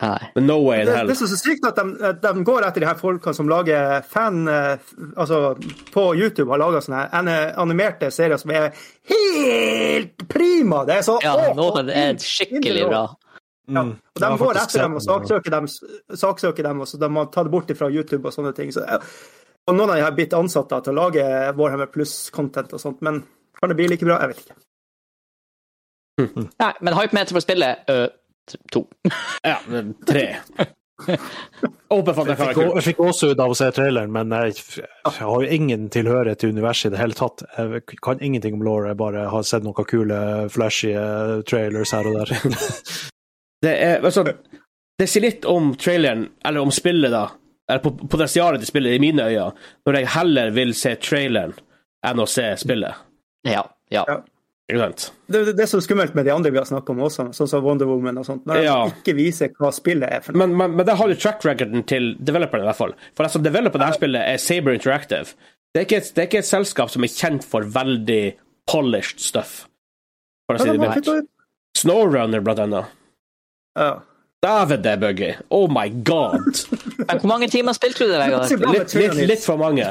Speaker 5: Nei.
Speaker 1: No way
Speaker 3: Det,
Speaker 1: in hell.
Speaker 3: det er så sykt at de, at de går etter de her folkene som lager fan eh, f- Altså, på YouTube har laga sånne her an- animerte serier som er helt prima! Det er så
Speaker 5: Ja,
Speaker 3: åh,
Speaker 5: nå
Speaker 3: så
Speaker 5: er det
Speaker 3: inn-
Speaker 5: skikkelig
Speaker 3: inderlig
Speaker 5: bra.
Speaker 3: åh. Ja. Og de
Speaker 2: Jeg har
Speaker 3: går
Speaker 2: faktisk
Speaker 3: etter dem og
Speaker 2: sett den, ja.
Speaker 3: saksøker dem, saksøker dem og så de må ta det bort fra YouTube og sånne ting. Så, eh, og noen av de har blitt ansatte til å lage Warhammer Plus-content og sånt, men kan det bli like bra? Jeg vet ikke.
Speaker 5: Nei, men hypemeter for spillet ø, t- eh, to.
Speaker 1: Ja, men tre. Åpen for at det kan
Speaker 2: Jeg
Speaker 1: være
Speaker 2: fikk,
Speaker 1: kult.
Speaker 2: jeg fikk også ut av å se traileren, men jeg, jeg har jo ingen tilhørighet til universet i det hele tatt. Jeg kan ingenting om Laura, jeg bare har sett noen kule, flashy eh, trailers her og der.
Speaker 1: Det, er, altså, det sier litt om traileren, eller om spillet, da. Eller pot- potensialet til spillet, i mine øyne. Når jeg heller vil se traileren enn å se spillet.
Speaker 5: Ja. ja.
Speaker 3: Ja.
Speaker 1: Ikke sant?
Speaker 3: Det, det, det er så skummelt med de andre vi har snakket om også, sånn som Wonder Woman og sånt. Når de
Speaker 1: Ja.
Speaker 3: ikke viser hva spillet er for noe.
Speaker 1: Men, men, men der har du track recorden til developeren, i hvert fall. For altså, developeren av dette spillet er Saber Interactive. Det er, ikke et, det er ikke et selskap som er kjent for veldig polished stuff, for å si
Speaker 3: Men
Speaker 1: det
Speaker 3: de har
Speaker 1: mildt.
Speaker 3: puttet ut-
Speaker 1: Snowrunner, blant annet.
Speaker 3: Ja.
Speaker 1: Dæven, det er buggy. Oh my god.
Speaker 5: Men hvor mange timer spilte du det, Vegard?
Speaker 3: Hva med
Speaker 1: Litt, litt,
Speaker 3: Tyranid?
Speaker 1: litt for mange.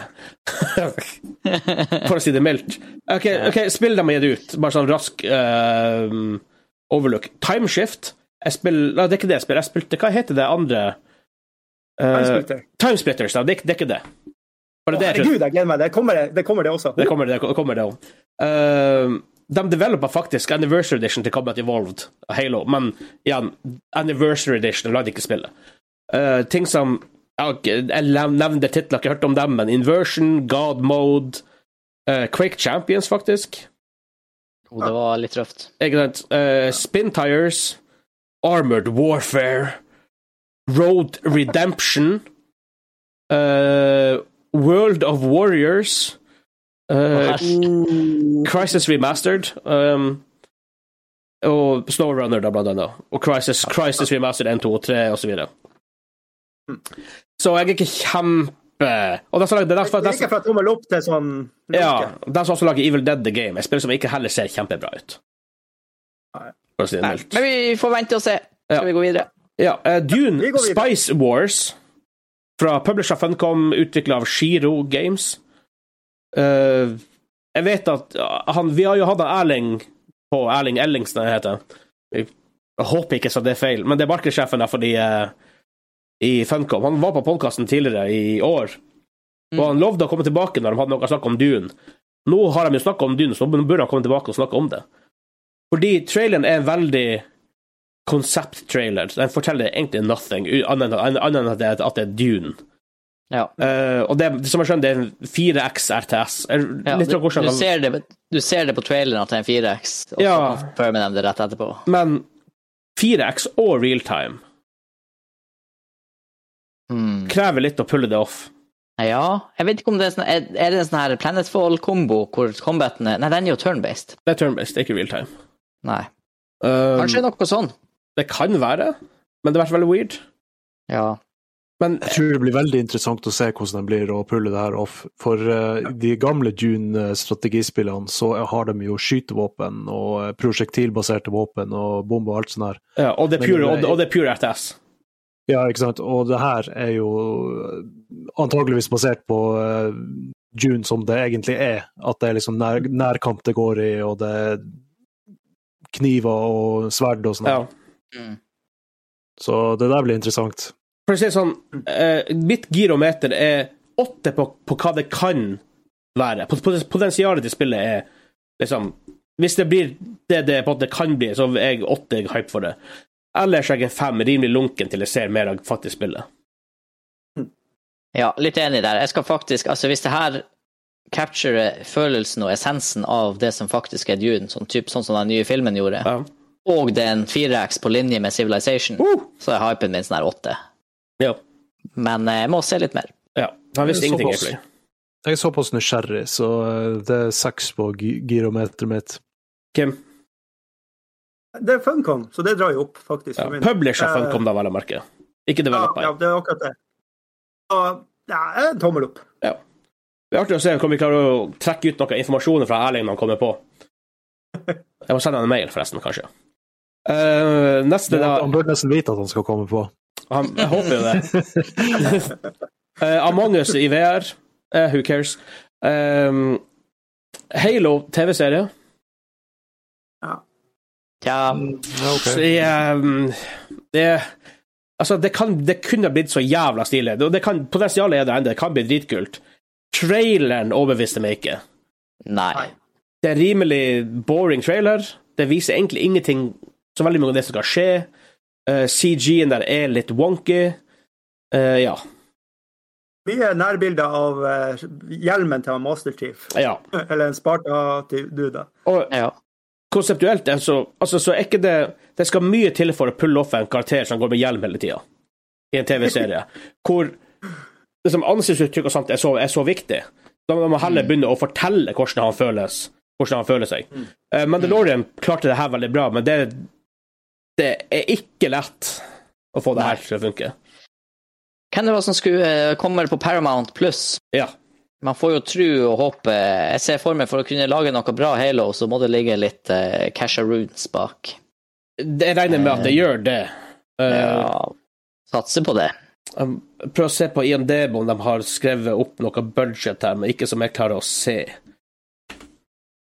Speaker 1: For å si det mildt. OK, ok, spill dem og gi det ut. Bare sånn rask ehm, overlook. Timeshift jeg spiller, Nei, det er ikke det jeg spiller. Jeg spilte Hva heter det andre? Uh,
Speaker 3: Timesplitter.
Speaker 1: Timesplitters, da. Det, er ikke- det er ikke det. Bare
Speaker 3: Å,
Speaker 1: det, jeg tror-
Speaker 3: Herregud, jeg gleder meg. Det kommer det, det, kommer det også.
Speaker 1: det kommer det, det kommer det om. Ehm, de developa faktisk Anniversary Edition til Combat Evolved av Halo, men igjen, Anniversary Edition lagde ikke spillet. Eh, ting som ja, ok, Jeg lev- nevnte titler, ikke hørt om dem, men Inversion, God Mode, eh, Quake Champions, faktisk.
Speaker 5: Oh, det var litt røft.
Speaker 1: Ikke sant? Eh, Spin Tires, Armored Warfare, Road Redemption, eh, World of Warriors eh, Crisis Remastered um, og Snowrunner, da, blant annet. Og Crisis, Crisis Remastered 1, 2 og 3, og så videre.
Speaker 3: Hm.
Speaker 1: Så jeg er ikke kjempe Og de som lager- de
Speaker 3: Det er
Speaker 1: som-
Speaker 3: ikke for at de vil opp til sånn
Speaker 1: ja, de som også lager Evil Dead The Game, et spill som ikke heller ser kjempebra ut.
Speaker 3: Nei.
Speaker 1: For å si det
Speaker 5: Nei,
Speaker 1: mildt.
Speaker 5: Men vi får vente og se.
Speaker 1: Ja.
Speaker 5: Skal vi gå videre?
Speaker 1: Ja, eh,
Speaker 3: Vi
Speaker 1: Dune
Speaker 3: går videre.
Speaker 1: Spice Wars fra publisher Funcom, utvikla av Shiro Games. Eh, jeg vet at ja, han, Vi har jo hatt en Erling på Erling Ellingsen, jeg heter han. Jeg håper ikke så det er feil, men det er markedssjefen der for de eh, i Funcom. Han var på podkasten tidligere i år, og han lovde å komme tilbake når de hadde noe å snakke om Dune. Nå har de jo snakka om Dune, så nå burde han komme tilbake og snakke om det. Fordi traileren er en veldig konsepttrailer. så Den forteller egentlig nothing, u- annet enn annet enn at det er- at det er Dune.
Speaker 5: Ja.
Speaker 1: Eh, og det, som jeg skjønner, det er en 4X RTS. Er-
Speaker 5: Ja,
Speaker 1: Litt
Speaker 5: du,
Speaker 1: av hvordan
Speaker 5: du, ser det, du ser det på traileren at det er en 4X, og så
Speaker 1: Ja.
Speaker 5: confirmer de det rett etterpå.
Speaker 1: Men 4X og realtime
Speaker 5: Hmm.
Speaker 1: krever litt å pulle det off.
Speaker 5: Ja, jeg vet ikke om det er sånn Er, er det en sånn her Planetfall-kombo hvor combaten er Nei, den er jo turn-based.
Speaker 1: Det er turn-based, det er ikke realtime.
Speaker 5: Nei.
Speaker 1: Um,
Speaker 5: Kanskje noe sånn.
Speaker 1: Det kan være, men det har vært veldig weird.
Speaker 5: Ja.
Speaker 1: Men
Speaker 2: Jeg tror det blir veldig interessant å se hvordan de blir å pulle det her off. For eh, de gamle Dune-strategispillene, så har de jo skytevåpen og eh, prosjektilbaserte våpen og bomber og alt sånt her.
Speaker 1: ja, og, det er
Speaker 2: Men
Speaker 1: pure,
Speaker 2: det er-
Speaker 1: og, det- og det er pure RTS.
Speaker 2: Ja, ikke sant? Og det her er jo eh, antageligvis basert på eh, Dune som det egentlig er. At det er liksom nær, nærkamp det går i, og det er kniver og sverd og sånn.
Speaker 1: Ja.
Speaker 2: her.
Speaker 5: Mm.
Speaker 2: Så det der blir interessant.
Speaker 1: For å si det sånn, eh, mitt girometer er åtte på, på hva det kan være. Pot- pot- Potensialet til spillet er liksom Hvis det blir det det på en måte kan bli, så er jeg åtte hype for det. Ellers er jeg en fem, rimelig lunken til jeg ser mer av faktisk spillet.
Speaker 5: Ja, litt enig der. Jeg skal faktisk, altså Hvis det her capturer følelsen og essensen av det som faktisk er Dune, sånn, typ, sånn som den nye filmen gjorde,
Speaker 1: Ja.
Speaker 5: og det er en 4X på linje med Civilization,
Speaker 1: Uh!
Speaker 5: så er hypen min sånn her åtte.
Speaker 1: Ja.
Speaker 5: Men eh, jeg må se litt mer.
Speaker 1: ja. Han visste
Speaker 2: Såpass.
Speaker 1: ingenting, egentlig.
Speaker 2: Jeg er såpass nysgjerrig, så eh, det er seks på gi- girometeret mitt.
Speaker 1: Kim?
Speaker 3: Det er Funcom, så det drar jo opp, faktisk.
Speaker 1: Ja.
Speaker 3: for min-
Speaker 1: Publisher
Speaker 3: Eh,
Speaker 1: Funcom, da, vel å merke. Ikke developer.
Speaker 3: Ja, ja, det er akkurat det. Så ja, en tommel opp.
Speaker 1: Det er artig å se om vi klarer å trekke ut noe informasjon fra Erling når han kommer på. Jeg må sende han en mail, forresten, kanskje. Eh, neste, da
Speaker 2: Han burde nesten vite at han skal komme på.
Speaker 1: han, Jeg håper jo det. Eh, Among us i VR. Eh, who cares? Um, Halo TV-serie.
Speaker 5: Tja,
Speaker 1: Så jeg, um, det Altså, det, kan, det kunne ha blitt så jævla stilig. Det, det kan, potensialet er der ennå. Det kan bli dritkult. Traileren overbeviste meg ikke.
Speaker 5: nei.
Speaker 1: Det er en rimelig boring trailer. Det viser egentlig ingenting så veldig mye av det som skal skje. Eh, CG-en der er litt wonky. Eh, ja.
Speaker 3: Mye nærbilder av eh, hjelmen til han Master Chief.
Speaker 1: ja.
Speaker 3: Eller en Sparta til du, da.
Speaker 1: Og
Speaker 5: Ja.
Speaker 1: konseptuelt er så, altså, så er ikke det Det skal mye til for å pulle off en karakter som går med hjelm hele tida, i en TV-serie, hvor liksom, ansiktsuttrykk og sånt er så, er så viktig. Da må man heller begynne å fortelle hvordan han føles, hvordan han føler seg. Eh, Mandalorian klarte det her veldig bra, men det, det er ikke lett å få det her til å funke.
Speaker 5: Hvem det var som skulle eh, komme på Paramount pluss?
Speaker 1: Ja.
Speaker 5: Man får jo tro og håpe. Jeg ser for meg for å kunne lage noe bra Halo, så eh, må det ligge litt uh, Casharoons bak.
Speaker 1: Det- Jeg regner med at det gjør det. Eh,
Speaker 5: Ja, satser på det.
Speaker 1: jeg prøver Um, å se på IMDb om de har skrevet opp noe budget her, men ikke som jeg klarer å se.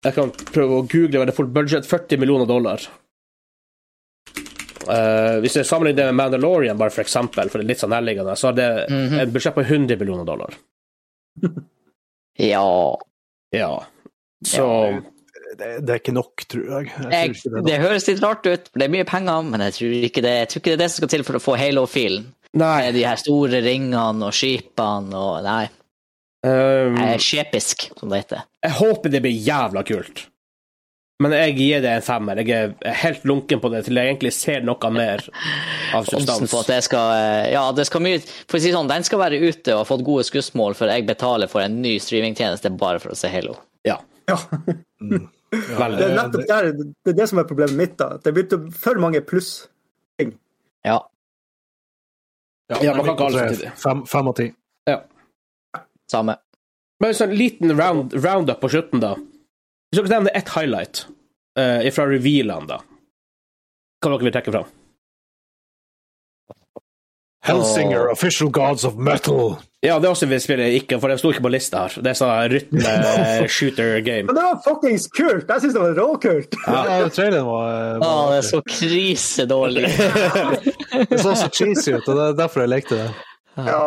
Speaker 1: Jeg kan prøve å google hva det får budget 40 millioner dollar. Eh, hvis jeg sammenligner det med Mandalorian, bare for eksempel, for det er litt sånn nærliggende, så har det
Speaker 5: Mhm.
Speaker 1: et budsjett på 100 millioner dollar.
Speaker 5: Ja.
Speaker 1: Ja. Så
Speaker 2: Det, det er ikke nok, tror jeg. jeg, tror
Speaker 5: Jeg,
Speaker 2: ikke det er nok.
Speaker 5: det høres litt rart ut, for det er mye penger, men jeg tror ikke det, jeg tror ikke det er det som skal til for å få Halo-filen.
Speaker 1: Nei.
Speaker 5: De her store ringene og skipene og Nei,
Speaker 1: ehm,
Speaker 5: jeg er skjepisk, som det heter.
Speaker 1: Jeg håper det blir jævla kult. Men jeg gir det en femmer. Jeg er helt lunken på det til jeg egentlig ser noe mer av
Speaker 5: Oddsen
Speaker 1: substans.
Speaker 5: på at det skal eh, Ja, det skal mye For å si det sånn, den skal være ute og ha fått gode skussmål før jeg betaler for en ny streamingtjeneste bare for å se Halo.
Speaker 1: Ja,
Speaker 3: Ja. Det
Speaker 1: veldig.
Speaker 2: Eh,
Speaker 3: er nettopp der, det er det som er problemet mitt. da. Det begynte for mange pluss.
Speaker 5: Ja.
Speaker 1: Ja, man kan ikke ha alt
Speaker 2: Tre-
Speaker 1: samtidig.
Speaker 2: Fem, fem av ti.
Speaker 1: Ja.
Speaker 5: Samme.
Speaker 1: Men en sånn liten round, roundup på slutten, da. Hvis dere nevner ett highlight eh, fra revealene, da, hva dere vil trekke fram?
Speaker 2: Hellsinger, official gods of metal.
Speaker 1: Ja, det er også vi spiller ikke, for det sto ikke på lista her. Det er sånn rytme-shooter-game.
Speaker 3: Men det var fuckings kult! Jeg syns det var råkult!
Speaker 2: Ja, traileren var,
Speaker 5: Å,
Speaker 2: var
Speaker 5: det er så krisedårlig.
Speaker 2: Det så så cheesy ut, og det er derfor jeg lekte det.
Speaker 3: Ja.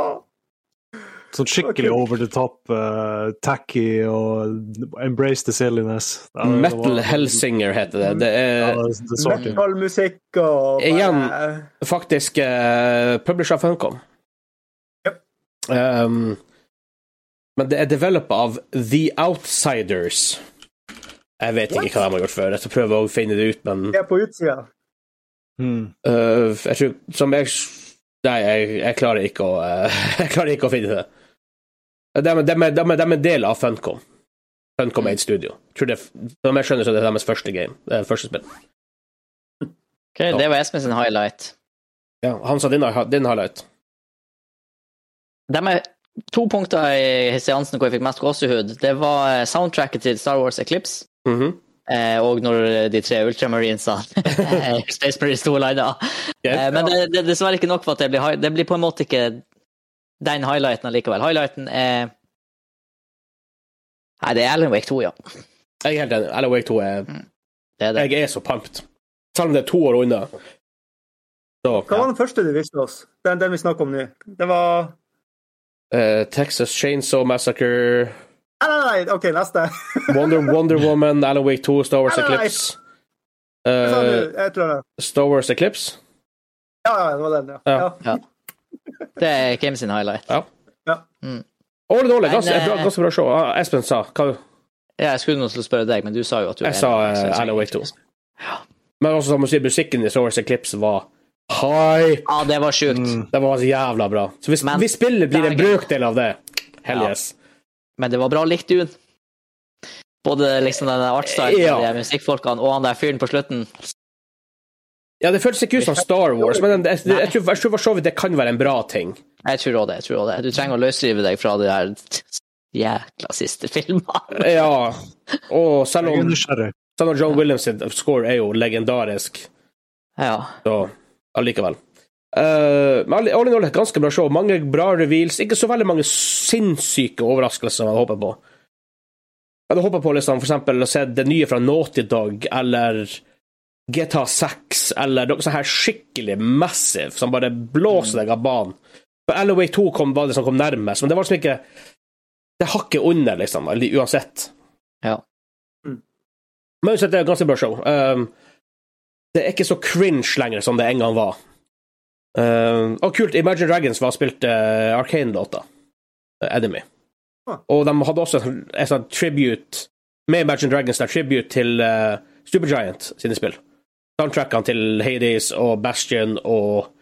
Speaker 2: Sånn skikkelig over the top, eh, tacky og embrace the silliness. Ja, det
Speaker 1: Metal
Speaker 2: var-
Speaker 1: Hellsinger heter det. Det
Speaker 2: Ja,
Speaker 1: er
Speaker 2: det, det så artig ut.
Speaker 3: Metallmusikk og bare-
Speaker 1: Igjen. faktisk uh, publisher av Funcom.
Speaker 3: Yep.
Speaker 1: Ehm, men det er developa av The Outsiders. Jeg vet ikke hva de har gjort før. Jeg skal prøve å finne det ut, men
Speaker 3: Jeg er på utsida.
Speaker 2: Mm.
Speaker 1: øh, jeg tror, Som jeg Nei, jeg, jeg klarer ikke å øh, Jeg klarer ikke å finne det. De, er- de, er- de, er- de er en del av Funcom. Funcom er et studio. Tror det, som jeg skjønner, så er det deres første game. Det er første spill.
Speaker 5: Ok, det var Espen sin highlight.
Speaker 1: Ja, han sa din, har- din highlight.
Speaker 5: De er to punkter i seansen hvor jeg fikk mest gåsehud. Det var eh, soundtracket til Star Wars Eclipse.
Speaker 1: Mhm.
Speaker 5: Eh, og når de tre ultramarinesene eh, Space Marines 2 lina. Eh, men det, det er dessverre ikke nok for at det blir, hi- det blir på en måte ikke den highlighten allikevel. Highlighten er Nei, det er Alan Wake 2, ja.
Speaker 1: Jeg er helt enig. Alan Wake 2 er
Speaker 5: Mm. Det er det.
Speaker 1: Jeg er så pumped. Selv om det er to år unna. Så,
Speaker 3: Hva var den første du viste oss? Den, den vi snakker om nå. Det var
Speaker 1: eh, Texas Chainsaw Massacre,
Speaker 3: Nei, nei, nei, OK, neste.
Speaker 1: Wonder, Wonder Woman, Alan Wake 2, Star Wars
Speaker 3: Nei, nei, nei.
Speaker 1: Eclipse.
Speaker 3: Hva sa
Speaker 1: Eh,
Speaker 3: du? Jeg tror det.
Speaker 1: Star Wars Eclipse?
Speaker 3: Ja, ja, det var den, ja.
Speaker 1: Ja.
Speaker 3: ja.
Speaker 5: Det er Kim sin highlight.
Speaker 1: Ja.
Speaker 3: Ja.
Speaker 5: Mm.
Speaker 1: All in all, ganske
Speaker 5: Men, eh,
Speaker 1: bra, ganske bra show. Ah, Espen sa hva
Speaker 5: Ja, jeg skulle nå til å spørre deg, men du sa jo at du
Speaker 1: Jeg sa
Speaker 5: Wake, så jeg
Speaker 1: eh,
Speaker 5: skal
Speaker 1: Alan Wake 2.
Speaker 5: ikke-
Speaker 1: Men også som du sier, musikken i Star Wars Eclipse var hype.
Speaker 5: Ja, det var sjukt.
Speaker 2: Mm.
Speaker 1: Det var så jævla bra. Så hvis,
Speaker 5: Men-
Speaker 1: hvis spillet blir en
Speaker 5: Dagen.
Speaker 1: brøkdel av det, hell
Speaker 5: Ja.
Speaker 1: yes.
Speaker 5: Men det var bra likt du. Både liksom den artstylen,
Speaker 1: Ja.
Speaker 5: de musikkfolkene og han der fyren på slutten.
Speaker 1: Ja, det føltes ikke ut som Star Wars, men jeg, jeg, jeg, tror, jeg tror for så vidt det kan være en bra ting.
Speaker 5: Jeg tror også det. jeg tror også det. Du trenger å løsrive deg fra de her jækla siste filmene.
Speaker 1: Ja, og selv
Speaker 2: Jeg er
Speaker 1: om,
Speaker 2: nysgjerrig.
Speaker 1: selv om John Williams' sin score er jo legendarisk,
Speaker 5: Ja.
Speaker 1: så allikevel. Eh, men all all in all, et ganske bra show. Mange bra reveals. Ikke så veldig mange sinnssyke overraskelser jeg håper på. Jeg hadde håpet på liksom, for eksempel, å se det nye fra Naughty Dog eller GTA 6 eller noe sånt her skikkelig massive som bare blåser deg av banen. For Alloway 2 kom, var det som kom nærmest, men det var liksom ikke Det hakket under, liksom, eller uansett.
Speaker 5: Ja.
Speaker 1: Men uansett, det er et ganske bra show. Um, det er ikke så cringe lenger som det en gang var. Um, og kult, Imagine Dragons var spilt uh, Arcane-låta, uh, Enemy.
Speaker 3: Ah.
Speaker 1: Og de hadde også en en sånn tribute med Imagine Dragons, der tribute til uh, Supergiant sine spill. Soundtrackene til Hades og Bastion og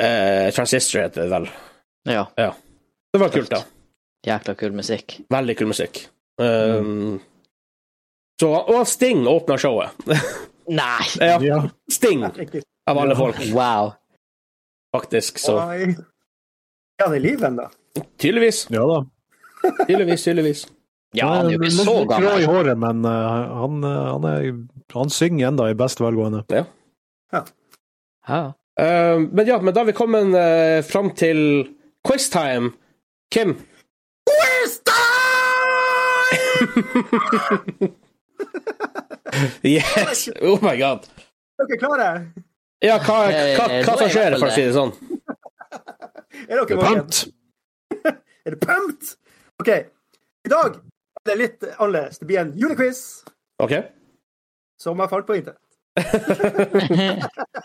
Speaker 1: uh, Transistor heter det vel.
Speaker 5: ja.
Speaker 1: Det var kult, da.
Speaker 5: Jækla kul musikk.
Speaker 1: Veldig kul musikk. Um, så, og Sting åpna showet.
Speaker 5: Nei!
Speaker 1: ja,
Speaker 2: Ja.
Speaker 1: Sting,
Speaker 3: Ikke-
Speaker 1: av alle folk,
Speaker 5: Wow.
Speaker 1: faktisk. Så
Speaker 3: Nei. Ja, han er i live ennå.
Speaker 1: tydeligvis.
Speaker 2: ja da.
Speaker 1: Tydeligvis, tydeligvis.
Speaker 5: Ja, han er jo ikke
Speaker 2: litt
Speaker 5: så
Speaker 2: grå i
Speaker 5: gammel.
Speaker 2: håret, men eh, han, eh, han, er, han synger enda i beste velgående.
Speaker 5: Ja.
Speaker 1: Eh, men ja, men da er vi kommet uh, fram til quiztime. Kim?
Speaker 3: Quiztime!
Speaker 1: Yes! Oh my god.
Speaker 3: Er dere klare?
Speaker 1: Ja, hva, hva,
Speaker 5: Eh,
Speaker 1: hva
Speaker 5: nå er
Speaker 1: som
Speaker 5: jeg
Speaker 1: skjer,
Speaker 5: i hvert fall
Speaker 1: for å si det sånn?
Speaker 3: Er dere våken?
Speaker 2: Pant!
Speaker 3: Er det pumped? OK. I dag er det litt annerledes. Det blir en julequiz
Speaker 1: OK?
Speaker 3: som jeg fant på internett.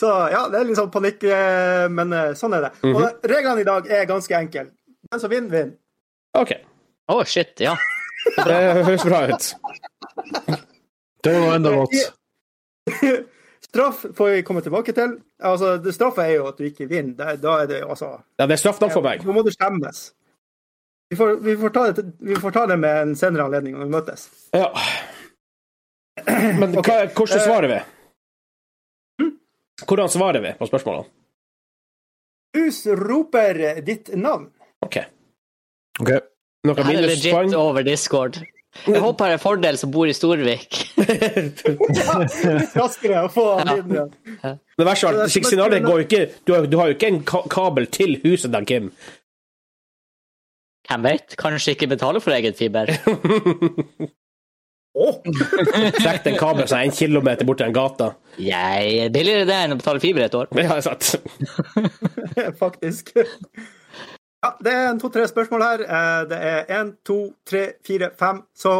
Speaker 3: Så ja, det er litt sånn panikk, eh, men eh, sånn er det.
Speaker 1: Mhm.
Speaker 3: Og reglene i dag er ganske enkle. Den som vinner, vinner.
Speaker 1: OK.
Speaker 5: Å, shit, ja.
Speaker 1: Det høres bra ut.
Speaker 2: Det var enda vått.
Speaker 3: Straff får vi komme tilbake til. Altså, det- Straffa er jo at du ikke vinner. Det- Da er det jo, altså
Speaker 1: Ja, det er straff nok for meg.
Speaker 3: Nå må du skjemmes. Vi får, vi, får ta det, vi får ta det med en senere anledning når vi møtes.
Speaker 1: Ja. Men hva, hvordan svarer vi?
Speaker 5: Eh, hmm?
Speaker 1: Hvordan svarer vi på spørsmålene?
Speaker 3: Us roper ditt navn.
Speaker 1: OK.
Speaker 2: Ok.
Speaker 1: Noen
Speaker 5: Her er legit
Speaker 1: minuspoeng?
Speaker 5: over Discord. Jeg håper det er fordel som bor i Storvik.
Speaker 3: Litt raskere å få han inn igjen.
Speaker 1: Det verste er at signalet går jo ikke du har, du har jo ikke en ka kabel til huset der, Kim.
Speaker 5: Hvem vet? Kanskje ikke betaler for eget fiber.
Speaker 3: Å,
Speaker 1: Trekk den kabelen som er en kilometer bort til den gata.
Speaker 5: Jeg er billigere det enn å betale fiber et år.
Speaker 1: Ja, det er sant.
Speaker 3: faktisk. Ja, det er en to-tre spørsmål her. Eh, Det er én, to, tre, fire, fem, så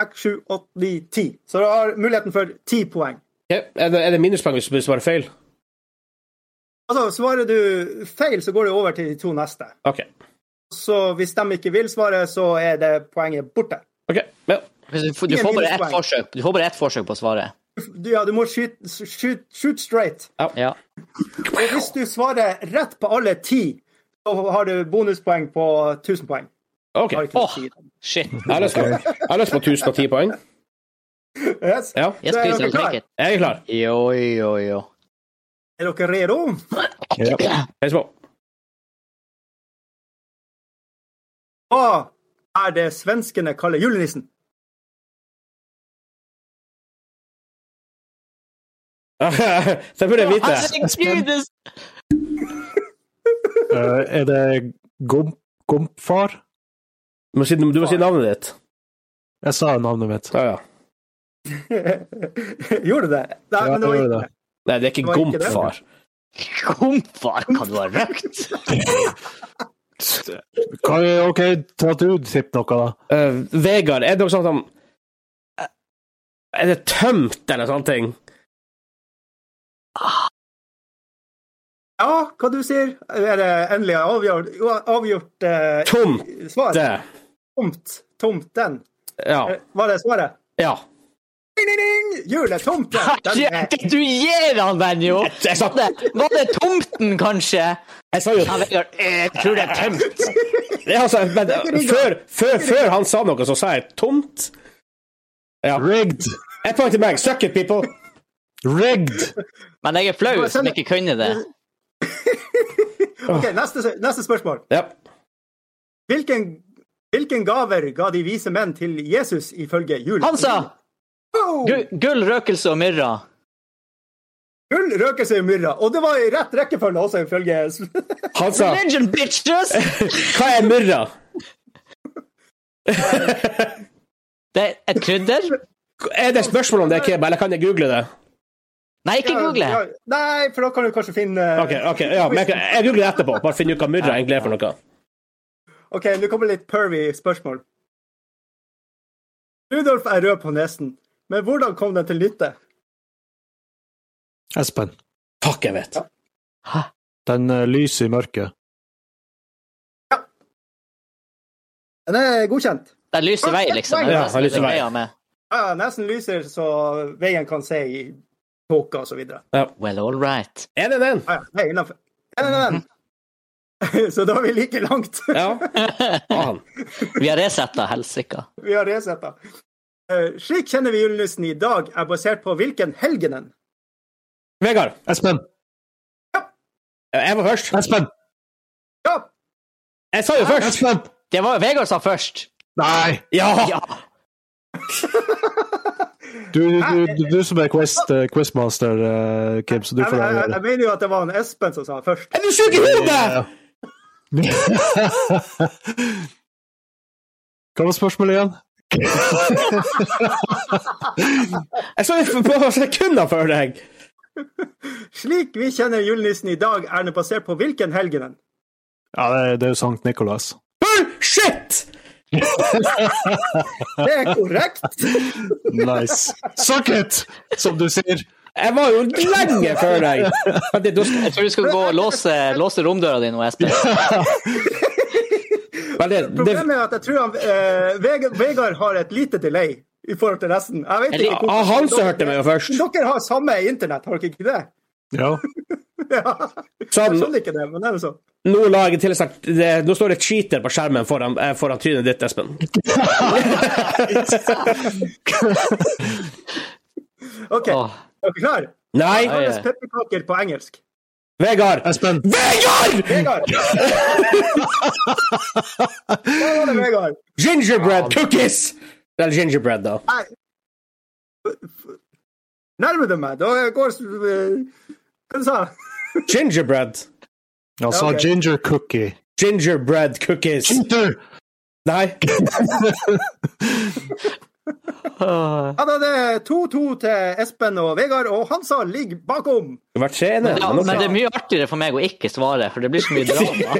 Speaker 3: seks, sju, åtte, ni, ti. Så du har muligheten for ti poeng.
Speaker 1: Ja, Er det, er det minuspoeng hvis du svarer feil?
Speaker 3: Altså, svarer du feil, så går det over til de to neste.
Speaker 1: OK.
Speaker 3: Så hvis de ikke vil svare, så er det poenget borte.
Speaker 1: ok, ja.
Speaker 5: Du får du får bare ett forsøk, du får bare ett forsøk på å svare.
Speaker 3: Du, ja, du må skyte shoot, shoot straight.
Speaker 5: Ja.
Speaker 3: Og hvis du svarer rett på alle ti, så har du bonuspoeng på 1000 poeng.
Speaker 1: OK.
Speaker 3: Har
Speaker 1: Jeg
Speaker 3: ikke
Speaker 5: Åh.
Speaker 3: tid.
Speaker 5: Shit.
Speaker 1: har lyst på, jeg har lyst på 1010 poeng.
Speaker 3: Yes.
Speaker 1: Ja,
Speaker 5: Yes,
Speaker 3: Så er
Speaker 5: please,
Speaker 3: dere
Speaker 5: I'll
Speaker 3: klar?
Speaker 5: take it.
Speaker 1: jeg er klar.
Speaker 5: Jo, jo, jo.
Speaker 3: Er dere redo?
Speaker 2: Ja.
Speaker 1: Heis på.
Speaker 3: Hva er det svenskene kaller julenissen?
Speaker 1: Så jeg burde vite det.
Speaker 5: Herregud, Altså, det-
Speaker 2: Eh, er det Gomp, Gompfar?
Speaker 1: Du må si, du må si navnet ditt.
Speaker 2: Jeg sa navnet mitt.
Speaker 1: Ja, ja.
Speaker 3: Gjorde du det? Nei,
Speaker 2: Ja,
Speaker 3: men det var
Speaker 2: jeg
Speaker 3: ikke
Speaker 2: gjorde
Speaker 3: det.
Speaker 1: Nei, det er ikke
Speaker 3: Det var ikke det.
Speaker 1: Gompfar.
Speaker 5: Komfar, hva du har røkt?
Speaker 2: Kan vi, OK, ta at du tipper noe, da.
Speaker 1: Eh, Vegard, er det noe sånt som Er det tømt, eller sånne ting?
Speaker 3: Ja, hva du sier? Er det endelig avgjort, avgjort eh,
Speaker 1: Tomt,
Speaker 3: svar?
Speaker 1: det.
Speaker 3: Tomt. Tomt, den.
Speaker 1: Ja.
Speaker 3: Eh, Var det svaret?
Speaker 1: ja.
Speaker 3: Ding, ding, ding! Juletomte! Den er
Speaker 5: Herregud, Du gir han den, jo!
Speaker 1: Jeg sa,
Speaker 5: Var det- var det tomten, kanskje?
Speaker 1: jeg sa jo
Speaker 5: Ja, Vegard, jeg tror det er tømt.
Speaker 1: det, er altså, men, før, før, før han sa noe, så sa jeg tomt. Ja.
Speaker 2: Rigged!
Speaker 1: Ett poeng til meg. Suck it, people.
Speaker 2: Rigged!
Speaker 5: Men jeg er flau som ikke kunne det.
Speaker 3: OK, neste, neste spørsmål.
Speaker 1: Ja.
Speaker 3: Hvilken, hvilken gaver ga de vise menn til Jesus ifølge julen?
Speaker 5: Han sa
Speaker 3: Wow!
Speaker 5: gu- gull, røkelse og myrra.
Speaker 3: Gull, røkelse og myrra. Og det var i rett rekkefølge også, ifølge
Speaker 1: Han sa
Speaker 5: Religion, bitches!
Speaker 1: Hva er myrra?
Speaker 5: Det er et krydder?
Speaker 1: Er det spørsmål om det, Kim, eller kan jeg google det?
Speaker 5: Nei, ikke google.
Speaker 3: Ja, Nei, for da kan du kanskje finne
Speaker 1: Ok, ok, ja, men jeg, kan- jeg googler det etterpå. Bare finne ut hva myrra egentlig er for noe.
Speaker 3: OK, nå kommer litt pervy spørsmål. Rudolf er rød på nesen, men hvordan kom den til nytte?
Speaker 2: Espen.
Speaker 1: Fuck, jeg vet.
Speaker 2: Den eh, lyser i mørket.
Speaker 3: Den er godkjent.
Speaker 5: Det er lys i vei, liksom.
Speaker 1: Ja, det er lys i vei.
Speaker 5: Greia med-
Speaker 3: Ja, ja, nesen lyser så veien kan se i tåka og så videre.
Speaker 5: Well, all right.
Speaker 1: Er det den?
Speaker 3: Ja, ja, det er innenfor. Ja, ja, ja. Så da er vi like langt.
Speaker 1: Ja. Faen.
Speaker 5: Vi har resetta helsika.
Speaker 3: Vi har resetta. Eh, Slik kjenner vi julenissen i dag, er basert på hvilken helgenen.
Speaker 1: Vegard,
Speaker 2: Espen!
Speaker 1: jeg var først.
Speaker 2: Espen!
Speaker 3: Ja,
Speaker 1: Jeg sa jo først!
Speaker 2: Espen!
Speaker 5: Det var Vegard sa først.
Speaker 2: Nei!
Speaker 1: Ja!
Speaker 5: Ja.
Speaker 2: Du, du, du, du som er quest, eh, quizmaster, eh, Kim, så du
Speaker 3: Jeg,
Speaker 2: får
Speaker 3: jeg, jeg,
Speaker 2: avgjøre.
Speaker 3: jeg mener jo at det var en Espen som sa det først.
Speaker 1: Er du sjuk i hodet?!
Speaker 2: Hva var spørsmålet igjen?
Speaker 1: Jeg sa det for bare sekunder før deg!
Speaker 3: Slik vi kjenner julenissen i dag, er den basert på hvilken helgen?
Speaker 2: Ja, det, er- det er jo Sankt Nikolas.
Speaker 1: Bullshit!
Speaker 3: Det er korrekt!
Speaker 2: Nice. Suck it! Som du sier.
Speaker 1: Jeg var jo lenge før deg! Vent litt, da skal-
Speaker 5: Jeg tror du skal gå og låse, låse romdøra di nå, Espen.
Speaker 1: vent litt, det,
Speaker 3: Problemet er at jeg tror han, eh, Veg- Vegard har et lite delay i forhold til resten. Jeg vet
Speaker 5: Eller-
Speaker 3: ikke
Speaker 1: ah, han som hørte meg jo først.
Speaker 3: Dere har samme internett, har dere ikke det?
Speaker 2: Ja.
Speaker 3: Ja. Jeg
Speaker 1: Sånn,
Speaker 3: skjønner ikke det, men det er jo sånn.
Speaker 1: nå, la jeg til snart, det, nå står det cheater på skjermen foran, eh, foran trynet ditt, Espen.
Speaker 3: OK,
Speaker 5: Åh.
Speaker 3: er dere klare?
Speaker 1: Nei!
Speaker 5: Oi,
Speaker 3: Kalles
Speaker 5: oi.
Speaker 3: pepperkaker på engelsk?
Speaker 1: Vegard!
Speaker 2: Espen.
Speaker 1: Vegard!
Speaker 3: Vegard! Hva var det, Vegard?
Speaker 1: Gingerbread cookies! Eller gingerbread, da.
Speaker 3: Nærmer du meg? Da går eh, Hva du sa du?
Speaker 1: Gingerbread.
Speaker 2: Han sa
Speaker 3: Ok.
Speaker 2: ginger cookie.
Speaker 1: Gingerbread cookies.
Speaker 2: Ginger!
Speaker 1: Nei.
Speaker 5: Åh.
Speaker 3: Ja, da det er 2-2 til Espen og Vegard, og Hansa ligger bakom.
Speaker 1: Hvert scene.
Speaker 5: Ja, men det er mye artigere for meg å ikke svare, for det blir så mye drama.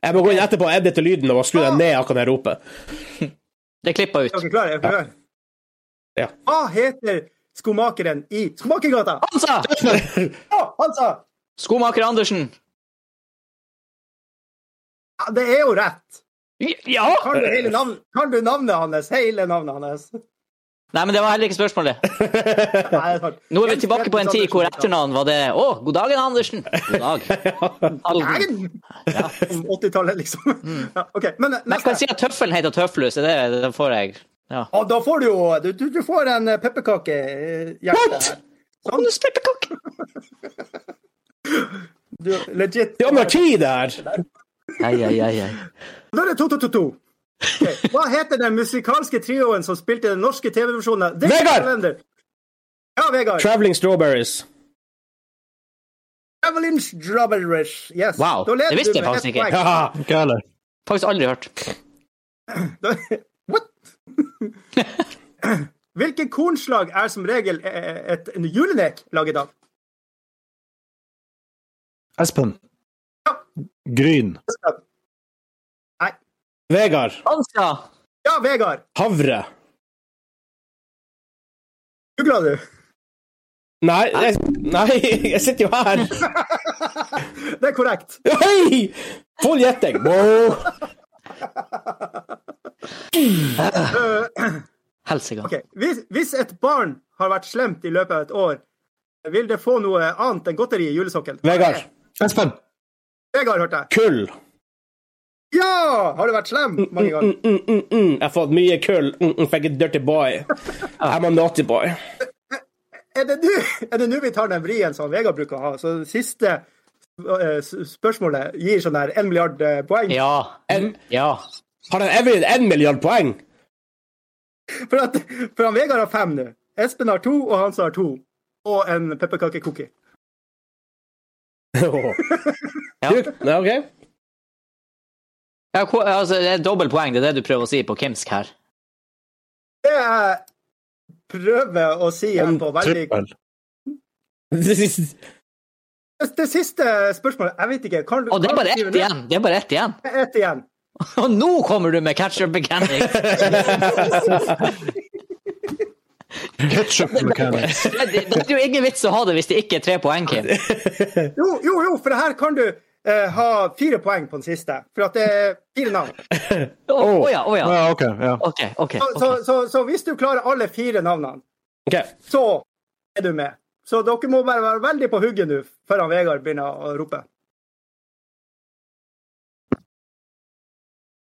Speaker 1: Jeg må gå inn etterpå og edite lyden og skru den ned akkurat når jeg roper.
Speaker 5: Det klippa
Speaker 3: Er
Speaker 5: ut.
Speaker 3: dere klare? Er dere klare?
Speaker 1: Ja.
Speaker 3: Hva heter skomakeren i Skomakergata?
Speaker 5: Hansa!
Speaker 3: Ja, altså, Hansa!
Speaker 5: Skomaker Andersen.
Speaker 3: Ja, det er jo rett.
Speaker 5: Ja!
Speaker 3: Kan du, hele navn, kan du navnet hans? Hele navnet hans?
Speaker 5: Nei, men det var heller ikke spørsmålet.
Speaker 3: Nei, det er sant.
Speaker 5: Nå er vi tilbake på en tid hvor etternavn var det Å, god dagen, Andersen. God dag.
Speaker 3: Nei,
Speaker 5: Halden.
Speaker 3: om 80-tallet, liksom. Ja, OK, men
Speaker 5: Mm. Men jeg kan
Speaker 3: neste.
Speaker 5: si at tøffelen heter Tøflus. Det, det får jeg. Ja.
Speaker 3: Ja, da får du jo Du, du, du får en eh, pepperkake. eh, hjerte. Sånn. Du, legit.
Speaker 1: Det er anarki, det her!
Speaker 5: Ai, ai, ai, ai.
Speaker 3: Da er det 2-2-2-2. Ok, Hva heter den musikalske trioen som spilte den norske TV-versjonen? av The
Speaker 1: Vegard!
Speaker 3: Calendar? Ja, Vegard.
Speaker 1: Traveling Strawberries.
Speaker 3: Traveling Strawberries. Yes.
Speaker 5: Wow,
Speaker 3: Da leder
Speaker 5: det visste
Speaker 3: du
Speaker 5: jeg
Speaker 3: med
Speaker 5: faktisk
Speaker 3: ett
Speaker 5: ikke.
Speaker 3: poeng.
Speaker 1: Haha.
Speaker 2: Ikke jeg heller.
Speaker 5: Faktisk aldri hørt.
Speaker 3: Da- What? Hvilken kornslag er som regel eh, et en julenek laget av?
Speaker 2: Espen.
Speaker 3: Ja.
Speaker 2: Gryn.
Speaker 1: Vegard.
Speaker 5: Hansa!
Speaker 3: Ja, Vegard.
Speaker 1: Havre.
Speaker 3: Googla du?
Speaker 1: Nei, jeg, nei, jeg sitter jo her.
Speaker 3: Det er korrekt.
Speaker 1: Hei! Full gjetting. Wow.
Speaker 5: Helsike.
Speaker 3: Ok, Hvis, hvis et barn har vært slemt i løpet av et år, vil det få noe annet enn godteri i julesokken?
Speaker 1: Vegard.
Speaker 2: Espen.
Speaker 3: Vegard, hørte jeg.
Speaker 1: Kull.
Speaker 3: Ja! Har du vært slem mange ganger?
Speaker 1: Mm, mm, mm, mm. Jeg har fått mye kull. Mm, mm, fikk et dirty boy. I'm a naughty boy.
Speaker 3: Er det nå- er det nå vi tar den vrien som Vegard bruker å ha? Så det siste eh, s- spørsmålet gir sånn der 1 milliard eh, poeng.
Speaker 5: Ja. Ja.
Speaker 1: Har han Everin en milliard poeng?
Speaker 3: For, at, for han Vegard har fem nå. Espen har to, og Hans har to. Og en pepperkakecookie.
Speaker 1: Åh. Du, ja, ok.
Speaker 5: ja ko- altså, det er dobbelt poeng, det er det du prøver å si på Kimsk her.
Speaker 3: Det jeg prøver å si igjen på veldig
Speaker 2: Trippel.
Speaker 3: Det siste spørsmålet Jeg vet ikke. Kan, du-
Speaker 5: Å, det er
Speaker 3: kan du
Speaker 5: bare
Speaker 3: skrive
Speaker 5: ett
Speaker 3: ned?
Speaker 5: igjen! Det er bare ett igjen.
Speaker 3: Det er Ett igjen.
Speaker 5: Og nå kommer du med ketchup mechanics!
Speaker 2: Ketchup mechanics.
Speaker 5: Det, det, det er jo ingen vits å ha det hvis det ikke er tre poeng, Kim.
Speaker 3: Jo, jo, jo, for det her kan du eh, ha fire poeng på den siste. For at det er fire navn.
Speaker 5: Å å ja, å ja.
Speaker 2: Ja, OK. Ja.
Speaker 5: OK, OK.
Speaker 3: Så, så, så, så hvis du klarer alle fire navnene,
Speaker 1: Ok.
Speaker 3: så er du med. Så dere må bare være veldig på hugget nå før han Vegard begynner å rope.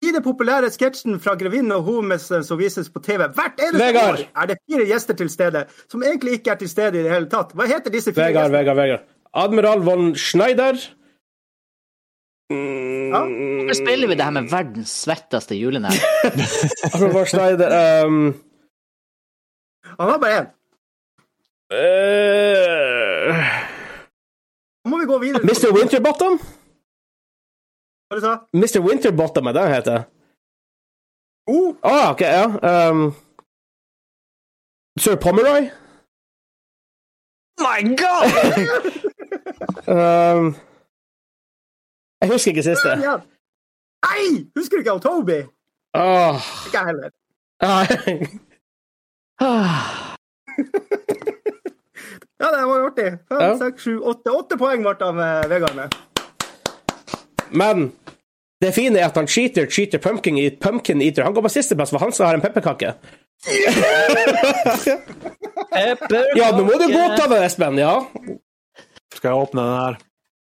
Speaker 3: I den populære sketsjen fra 'Grevinnen og hovmesteren' som vises på TV hvert eneste
Speaker 1: Vegard!
Speaker 3: år, er det fire gjester til stede som egentlig ikke er til stede i det hele tatt. Hva heter disse fire
Speaker 1: Vegard,
Speaker 3: gjestene?
Speaker 1: Vegard, Vegard. Admiral von Schneider. Mm.
Speaker 3: Ja.
Speaker 5: Hvorfor spiller vi det her med verdens svetteste julenær?
Speaker 1: Altså, Var Snyder ehm,
Speaker 3: Han har bare én.
Speaker 1: eh,
Speaker 3: Nå må vi gå videre.
Speaker 1: Mr. Winterbottom?
Speaker 3: Hva du sa
Speaker 1: Mr. Winterbottom er det han heter.
Speaker 3: Oh,
Speaker 1: Ah, ok, ja. ehm, Sir Pomeroy?
Speaker 5: My God!
Speaker 1: Ehm, jeg husker ikke siste.
Speaker 3: kom igjen. Nei! Husker du ikke han Toby?
Speaker 1: Åh,
Speaker 3: Ikke jeg heller.
Speaker 1: ah,
Speaker 3: Ja, det var jo artig. Fem,
Speaker 1: Ja.
Speaker 3: seks, sju, åtte. Åtte poeng ble han med Vegard med.
Speaker 1: Men det fine er at han cheater, cheater pumpkin, eat- pumpkin eater. Han går på sisteplass, for han som har en pepperkake. Ja, nå må du godta det, Espen. Ja.
Speaker 2: Skal jeg åpne den her?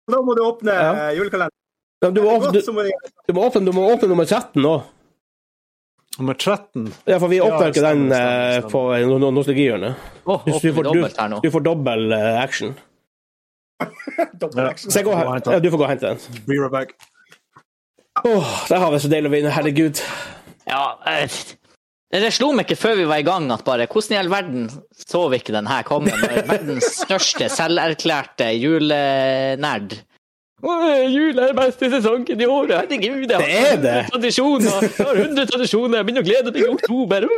Speaker 3: Så da må du åpne
Speaker 1: Ja.
Speaker 3: eh, julekalenderen.
Speaker 1: Men Du må åpne,
Speaker 3: Godt,
Speaker 1: du,
Speaker 3: så må du...
Speaker 1: du må åpne, du må åpne nummer 13 nå.
Speaker 2: Nummer 13.
Speaker 1: Ja, for vi åpner
Speaker 2: Ja,
Speaker 1: ikke den
Speaker 2: stemmer, stemmer,
Speaker 1: eh,
Speaker 2: stemmer.
Speaker 1: på eh, no- no- nostalgihjørnet.
Speaker 5: Åh,
Speaker 1: Du, du,
Speaker 5: åpner
Speaker 1: får-
Speaker 5: vi dobbelt her
Speaker 1: du,
Speaker 5: nå.
Speaker 1: du får dobbel eh, action.
Speaker 3: Dobbel
Speaker 2: Ja.
Speaker 3: action.
Speaker 1: Så jeg går,
Speaker 2: Gå og hent den.
Speaker 1: ja, du får gå og hente den.
Speaker 2: Be right back.
Speaker 1: Åh, der har vi så deilig å vinne. Herregud.
Speaker 5: Ja, eh, det slo meg ikke før vi var i gang at bare hvordan i all verden så vi ikke den her komme? når Verdens største selverklærte julenerd. Åh, Jul er den beste sesongen i året. Herregud, jeg
Speaker 1: Det er det.
Speaker 5: tradisjoner. Jeg har 100 tradisjoner. Jeg begynner å glede meg i oktober.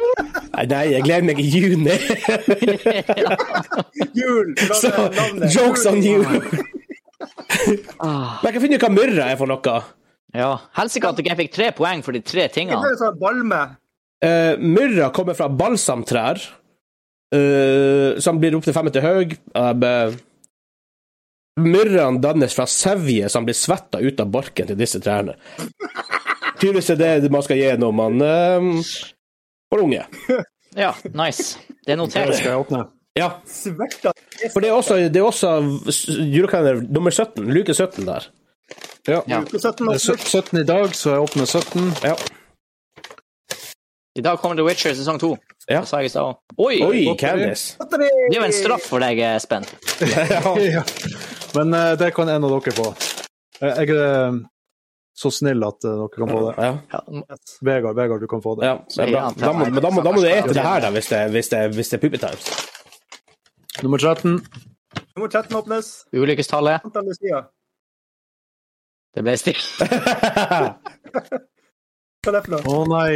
Speaker 1: Nei, nei, jeg gleder meg i juni.
Speaker 3: Jul!
Speaker 1: Så
Speaker 3: navnet- navnet.
Speaker 1: jokes on you.
Speaker 5: Ah,
Speaker 1: Men jeg kan finne ut hva myrra er for noe.
Speaker 5: Ja. Helsike at ikke jeg fikk tre poeng for de tre
Speaker 3: Det er
Speaker 5: tingene.
Speaker 3: jo sånn balme.
Speaker 1: Eh, myrra kommer fra balsamtrær, eh, som blir opptil fem meter høy. Eh, be- Myrraen dannes fra sevje som blir svetta ut av barken til disse trærne. Tydeligvis er det man skal gi når man eh, får unge.
Speaker 5: Ja, nice. Det er
Speaker 2: Det
Speaker 5: notert.
Speaker 2: skal jeg åpne.
Speaker 1: Ja,
Speaker 3: Sverta.
Speaker 1: for det er også, det er også s- julekalender nummer 17, luke 17 der.
Speaker 5: Ja.
Speaker 3: Uke 17
Speaker 2: Det
Speaker 3: og
Speaker 2: er sø- 17 i dag, så jeg åpner 17.
Speaker 1: Ja.
Speaker 5: I dag kommer The Witcher sesong to.
Speaker 1: Ja.
Speaker 5: Det sa jeg i stad òg. Oi!
Speaker 1: Oi, Candice.
Speaker 5: Det er jo en straff for deg, eh, Espen.
Speaker 2: Ja. Men eh, det kan en av dere få. Eh, Jeg er eh, så snill at eh, dere kan få det.
Speaker 1: Ja,
Speaker 5: Ja,
Speaker 2: Vegard, Vegard, du kan få det.
Speaker 1: ja, det er bra. Da må, men da må, da må du ete det her, da, hvis det, hvis det, hvis det er puppetimes.
Speaker 2: Nummer 13.
Speaker 3: Nummer 13 åpnes.
Speaker 5: Ulykkestallet.
Speaker 3: Santa Lucia.
Speaker 5: Det ble stille.
Speaker 3: Hva er det for noe?
Speaker 2: Å nei.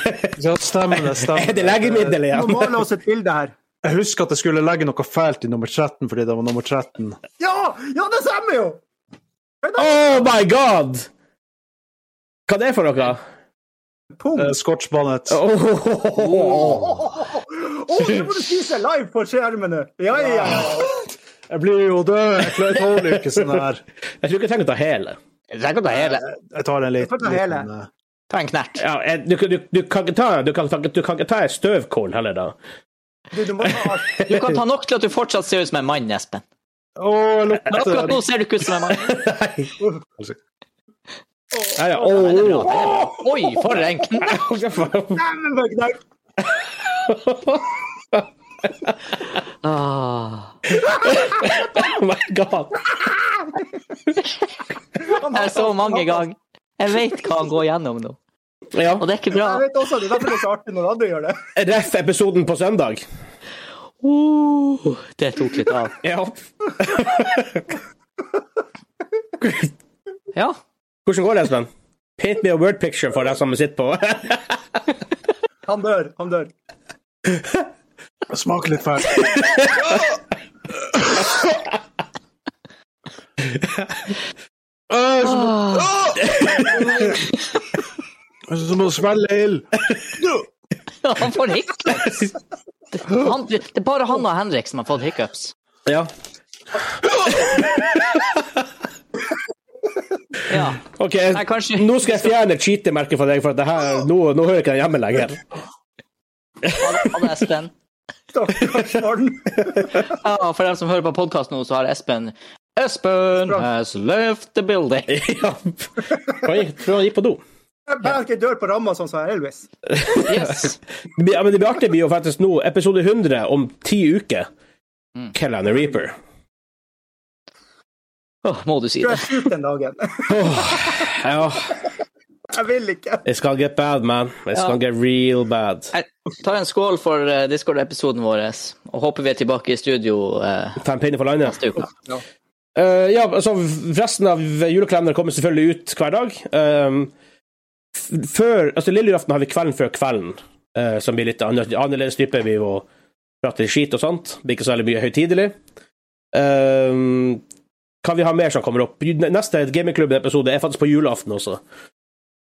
Speaker 2: Ja, stemmer
Speaker 1: Er
Speaker 2: det.
Speaker 1: det
Speaker 2: stemmer.
Speaker 1: legemiddel
Speaker 3: Vi må
Speaker 1: igjen?
Speaker 3: male oss et bilde her.
Speaker 2: Jeg husker at jeg skulle legge noe fælt i nummer 13 fordi det var nummer 13.
Speaker 3: Ja! Ja, det stemmer jo!
Speaker 1: Oh my god! Hva det er for noe?
Speaker 3: Pung.
Speaker 2: Eh, Scotch bonnet.
Speaker 1: Oh.
Speaker 3: Å, det må du spise live på skjermen nå! Ja, ja, ja.
Speaker 2: Jeg blir jo død! Jeg klarer jeg tåler ikke sånn her.
Speaker 1: Jeg tror ikke jeg trenger å ta hele.
Speaker 5: Tenk å ta hele.
Speaker 2: Jeg tar
Speaker 3: får
Speaker 2: en liten.
Speaker 3: ta hele.
Speaker 2: liten, eh,
Speaker 5: Ta en knert.
Speaker 1: Ja, jeg, du, du, du, kan ikke ta, du, kan, du kan ikke ta en støvkål heller, da.
Speaker 3: Du, du må ta alt.
Speaker 5: Du kan ta nok til at du fortsatt ser ut som en mann, Espen.
Speaker 2: Å, jeg
Speaker 5: Men
Speaker 2: lukter altså.
Speaker 5: akkurat nå ser du ikke ut som en mann.
Speaker 1: Ja, ja.
Speaker 5: Nei, det er
Speaker 1: Oh.
Speaker 5: bra. det er bra. Oi, for en knert!
Speaker 3: Dæven, var ikke det?
Speaker 5: Ah.
Speaker 1: oh my god.
Speaker 3: Han
Speaker 5: Det
Speaker 3: har-
Speaker 5: er så mange ganger. Jeg vet hva han går gjennom nå,
Speaker 1: Ja.
Speaker 5: og det er ikke bra.
Speaker 3: Jeg vet også, det er derfor det er så artig når andre gjør det.
Speaker 1: Ref episoden på søndag.
Speaker 5: Uh, det tok litt av.
Speaker 1: Ja.
Speaker 5: Ja.
Speaker 1: Hvordan går det, Espen? Paint me a word picture for deg som sitter på.
Speaker 3: Han dør. Han dør.
Speaker 2: Det smaker litt fælt. Æsj!
Speaker 5: Ah.
Speaker 2: Det er Som å svelge ild.
Speaker 5: Han får hiccups. Det, han, det er bare han og Henrik som har fått hiccups.
Speaker 1: ja.
Speaker 5: Ja.
Speaker 1: OK,
Speaker 5: Nei, kanskje-
Speaker 1: nå skal jeg fjerne cheatermerket fra deg, for at det her, nå, nå hører jeg ikke den hjemme lenger.
Speaker 5: Ha det- ha det, Espen.
Speaker 3: Stakkars barn.
Speaker 5: Ja, for dem som hører på podkast nå, så har Espen Espen has left the building.
Speaker 1: Ja. Han gikk, tror han gikk på do.
Speaker 3: Bare ikke dør på ramma, sånn som Elvis.
Speaker 5: Yes.
Speaker 1: Det blir- Ja, men det blir artig blir jo faktisk nå, episode
Speaker 5: Mm.
Speaker 1: 100 om ti uker. Kill and the Reaper.
Speaker 5: Åh, må du si
Speaker 3: Tror
Speaker 5: det?
Speaker 3: jeg skyter den dagen.
Speaker 1: Åh, ja.
Speaker 3: Jeg vil ikke.
Speaker 1: It's gonna get bad, man. It's
Speaker 5: Ja.
Speaker 1: gonna get real bad.
Speaker 5: Jeg tar en skål for eh, Discord-episoden vår og håper vi er tilbake i studio eh,
Speaker 1: Ta en pinne for landet.
Speaker 5: neste uke.
Speaker 1: Eh, ja, altså Resten av julekalenderen kommer selvfølgelig ut hver dag. Ehm, f- før Altså, lille julaften har vi Kvelden før kvelden, eh, som blir litt anner- annerledes type. Vi jo prater litt skit og sånt. Blir ikke så veldig mye høytidelig. Ehm, kan vi ha mer som kommer opp? Neste Gamingklubben-episode er faktisk på julaften også.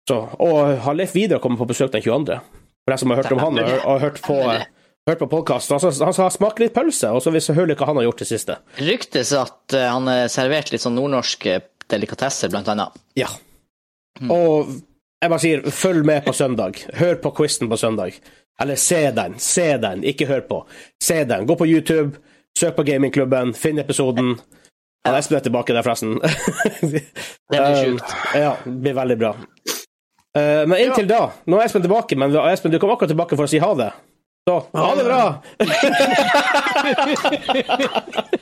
Speaker 1: Så, og han Leif Vidar kommer på besøk den 22. For deg som har hørt om han og, og hørt på, hørt på podkasten. Han sa- han sa smak litt pølse, og så vil jeg høre hva han har gjort det siste.
Speaker 5: Ryktes at eh, han er servert litt sånn nordnorske delikatesser, blant annet.
Speaker 1: Ja.
Speaker 5: Mm.
Speaker 1: Og jeg bare sier, følg med på søndag. Hør på quizen på søndag. Eller se den. Se den, ikke hør på. Se den. Gå på YouTube, søk på gamingklubben, finn episoden. Ja, Espen er tilbake der, forresten.
Speaker 5: Det blir sjukt.
Speaker 1: Eh, ja, det blir veldig bra. Eh, men inntil da Nå er Espen tilbake, men Espen, du kom akkurat tilbake for å si ha det. Så ha det bra!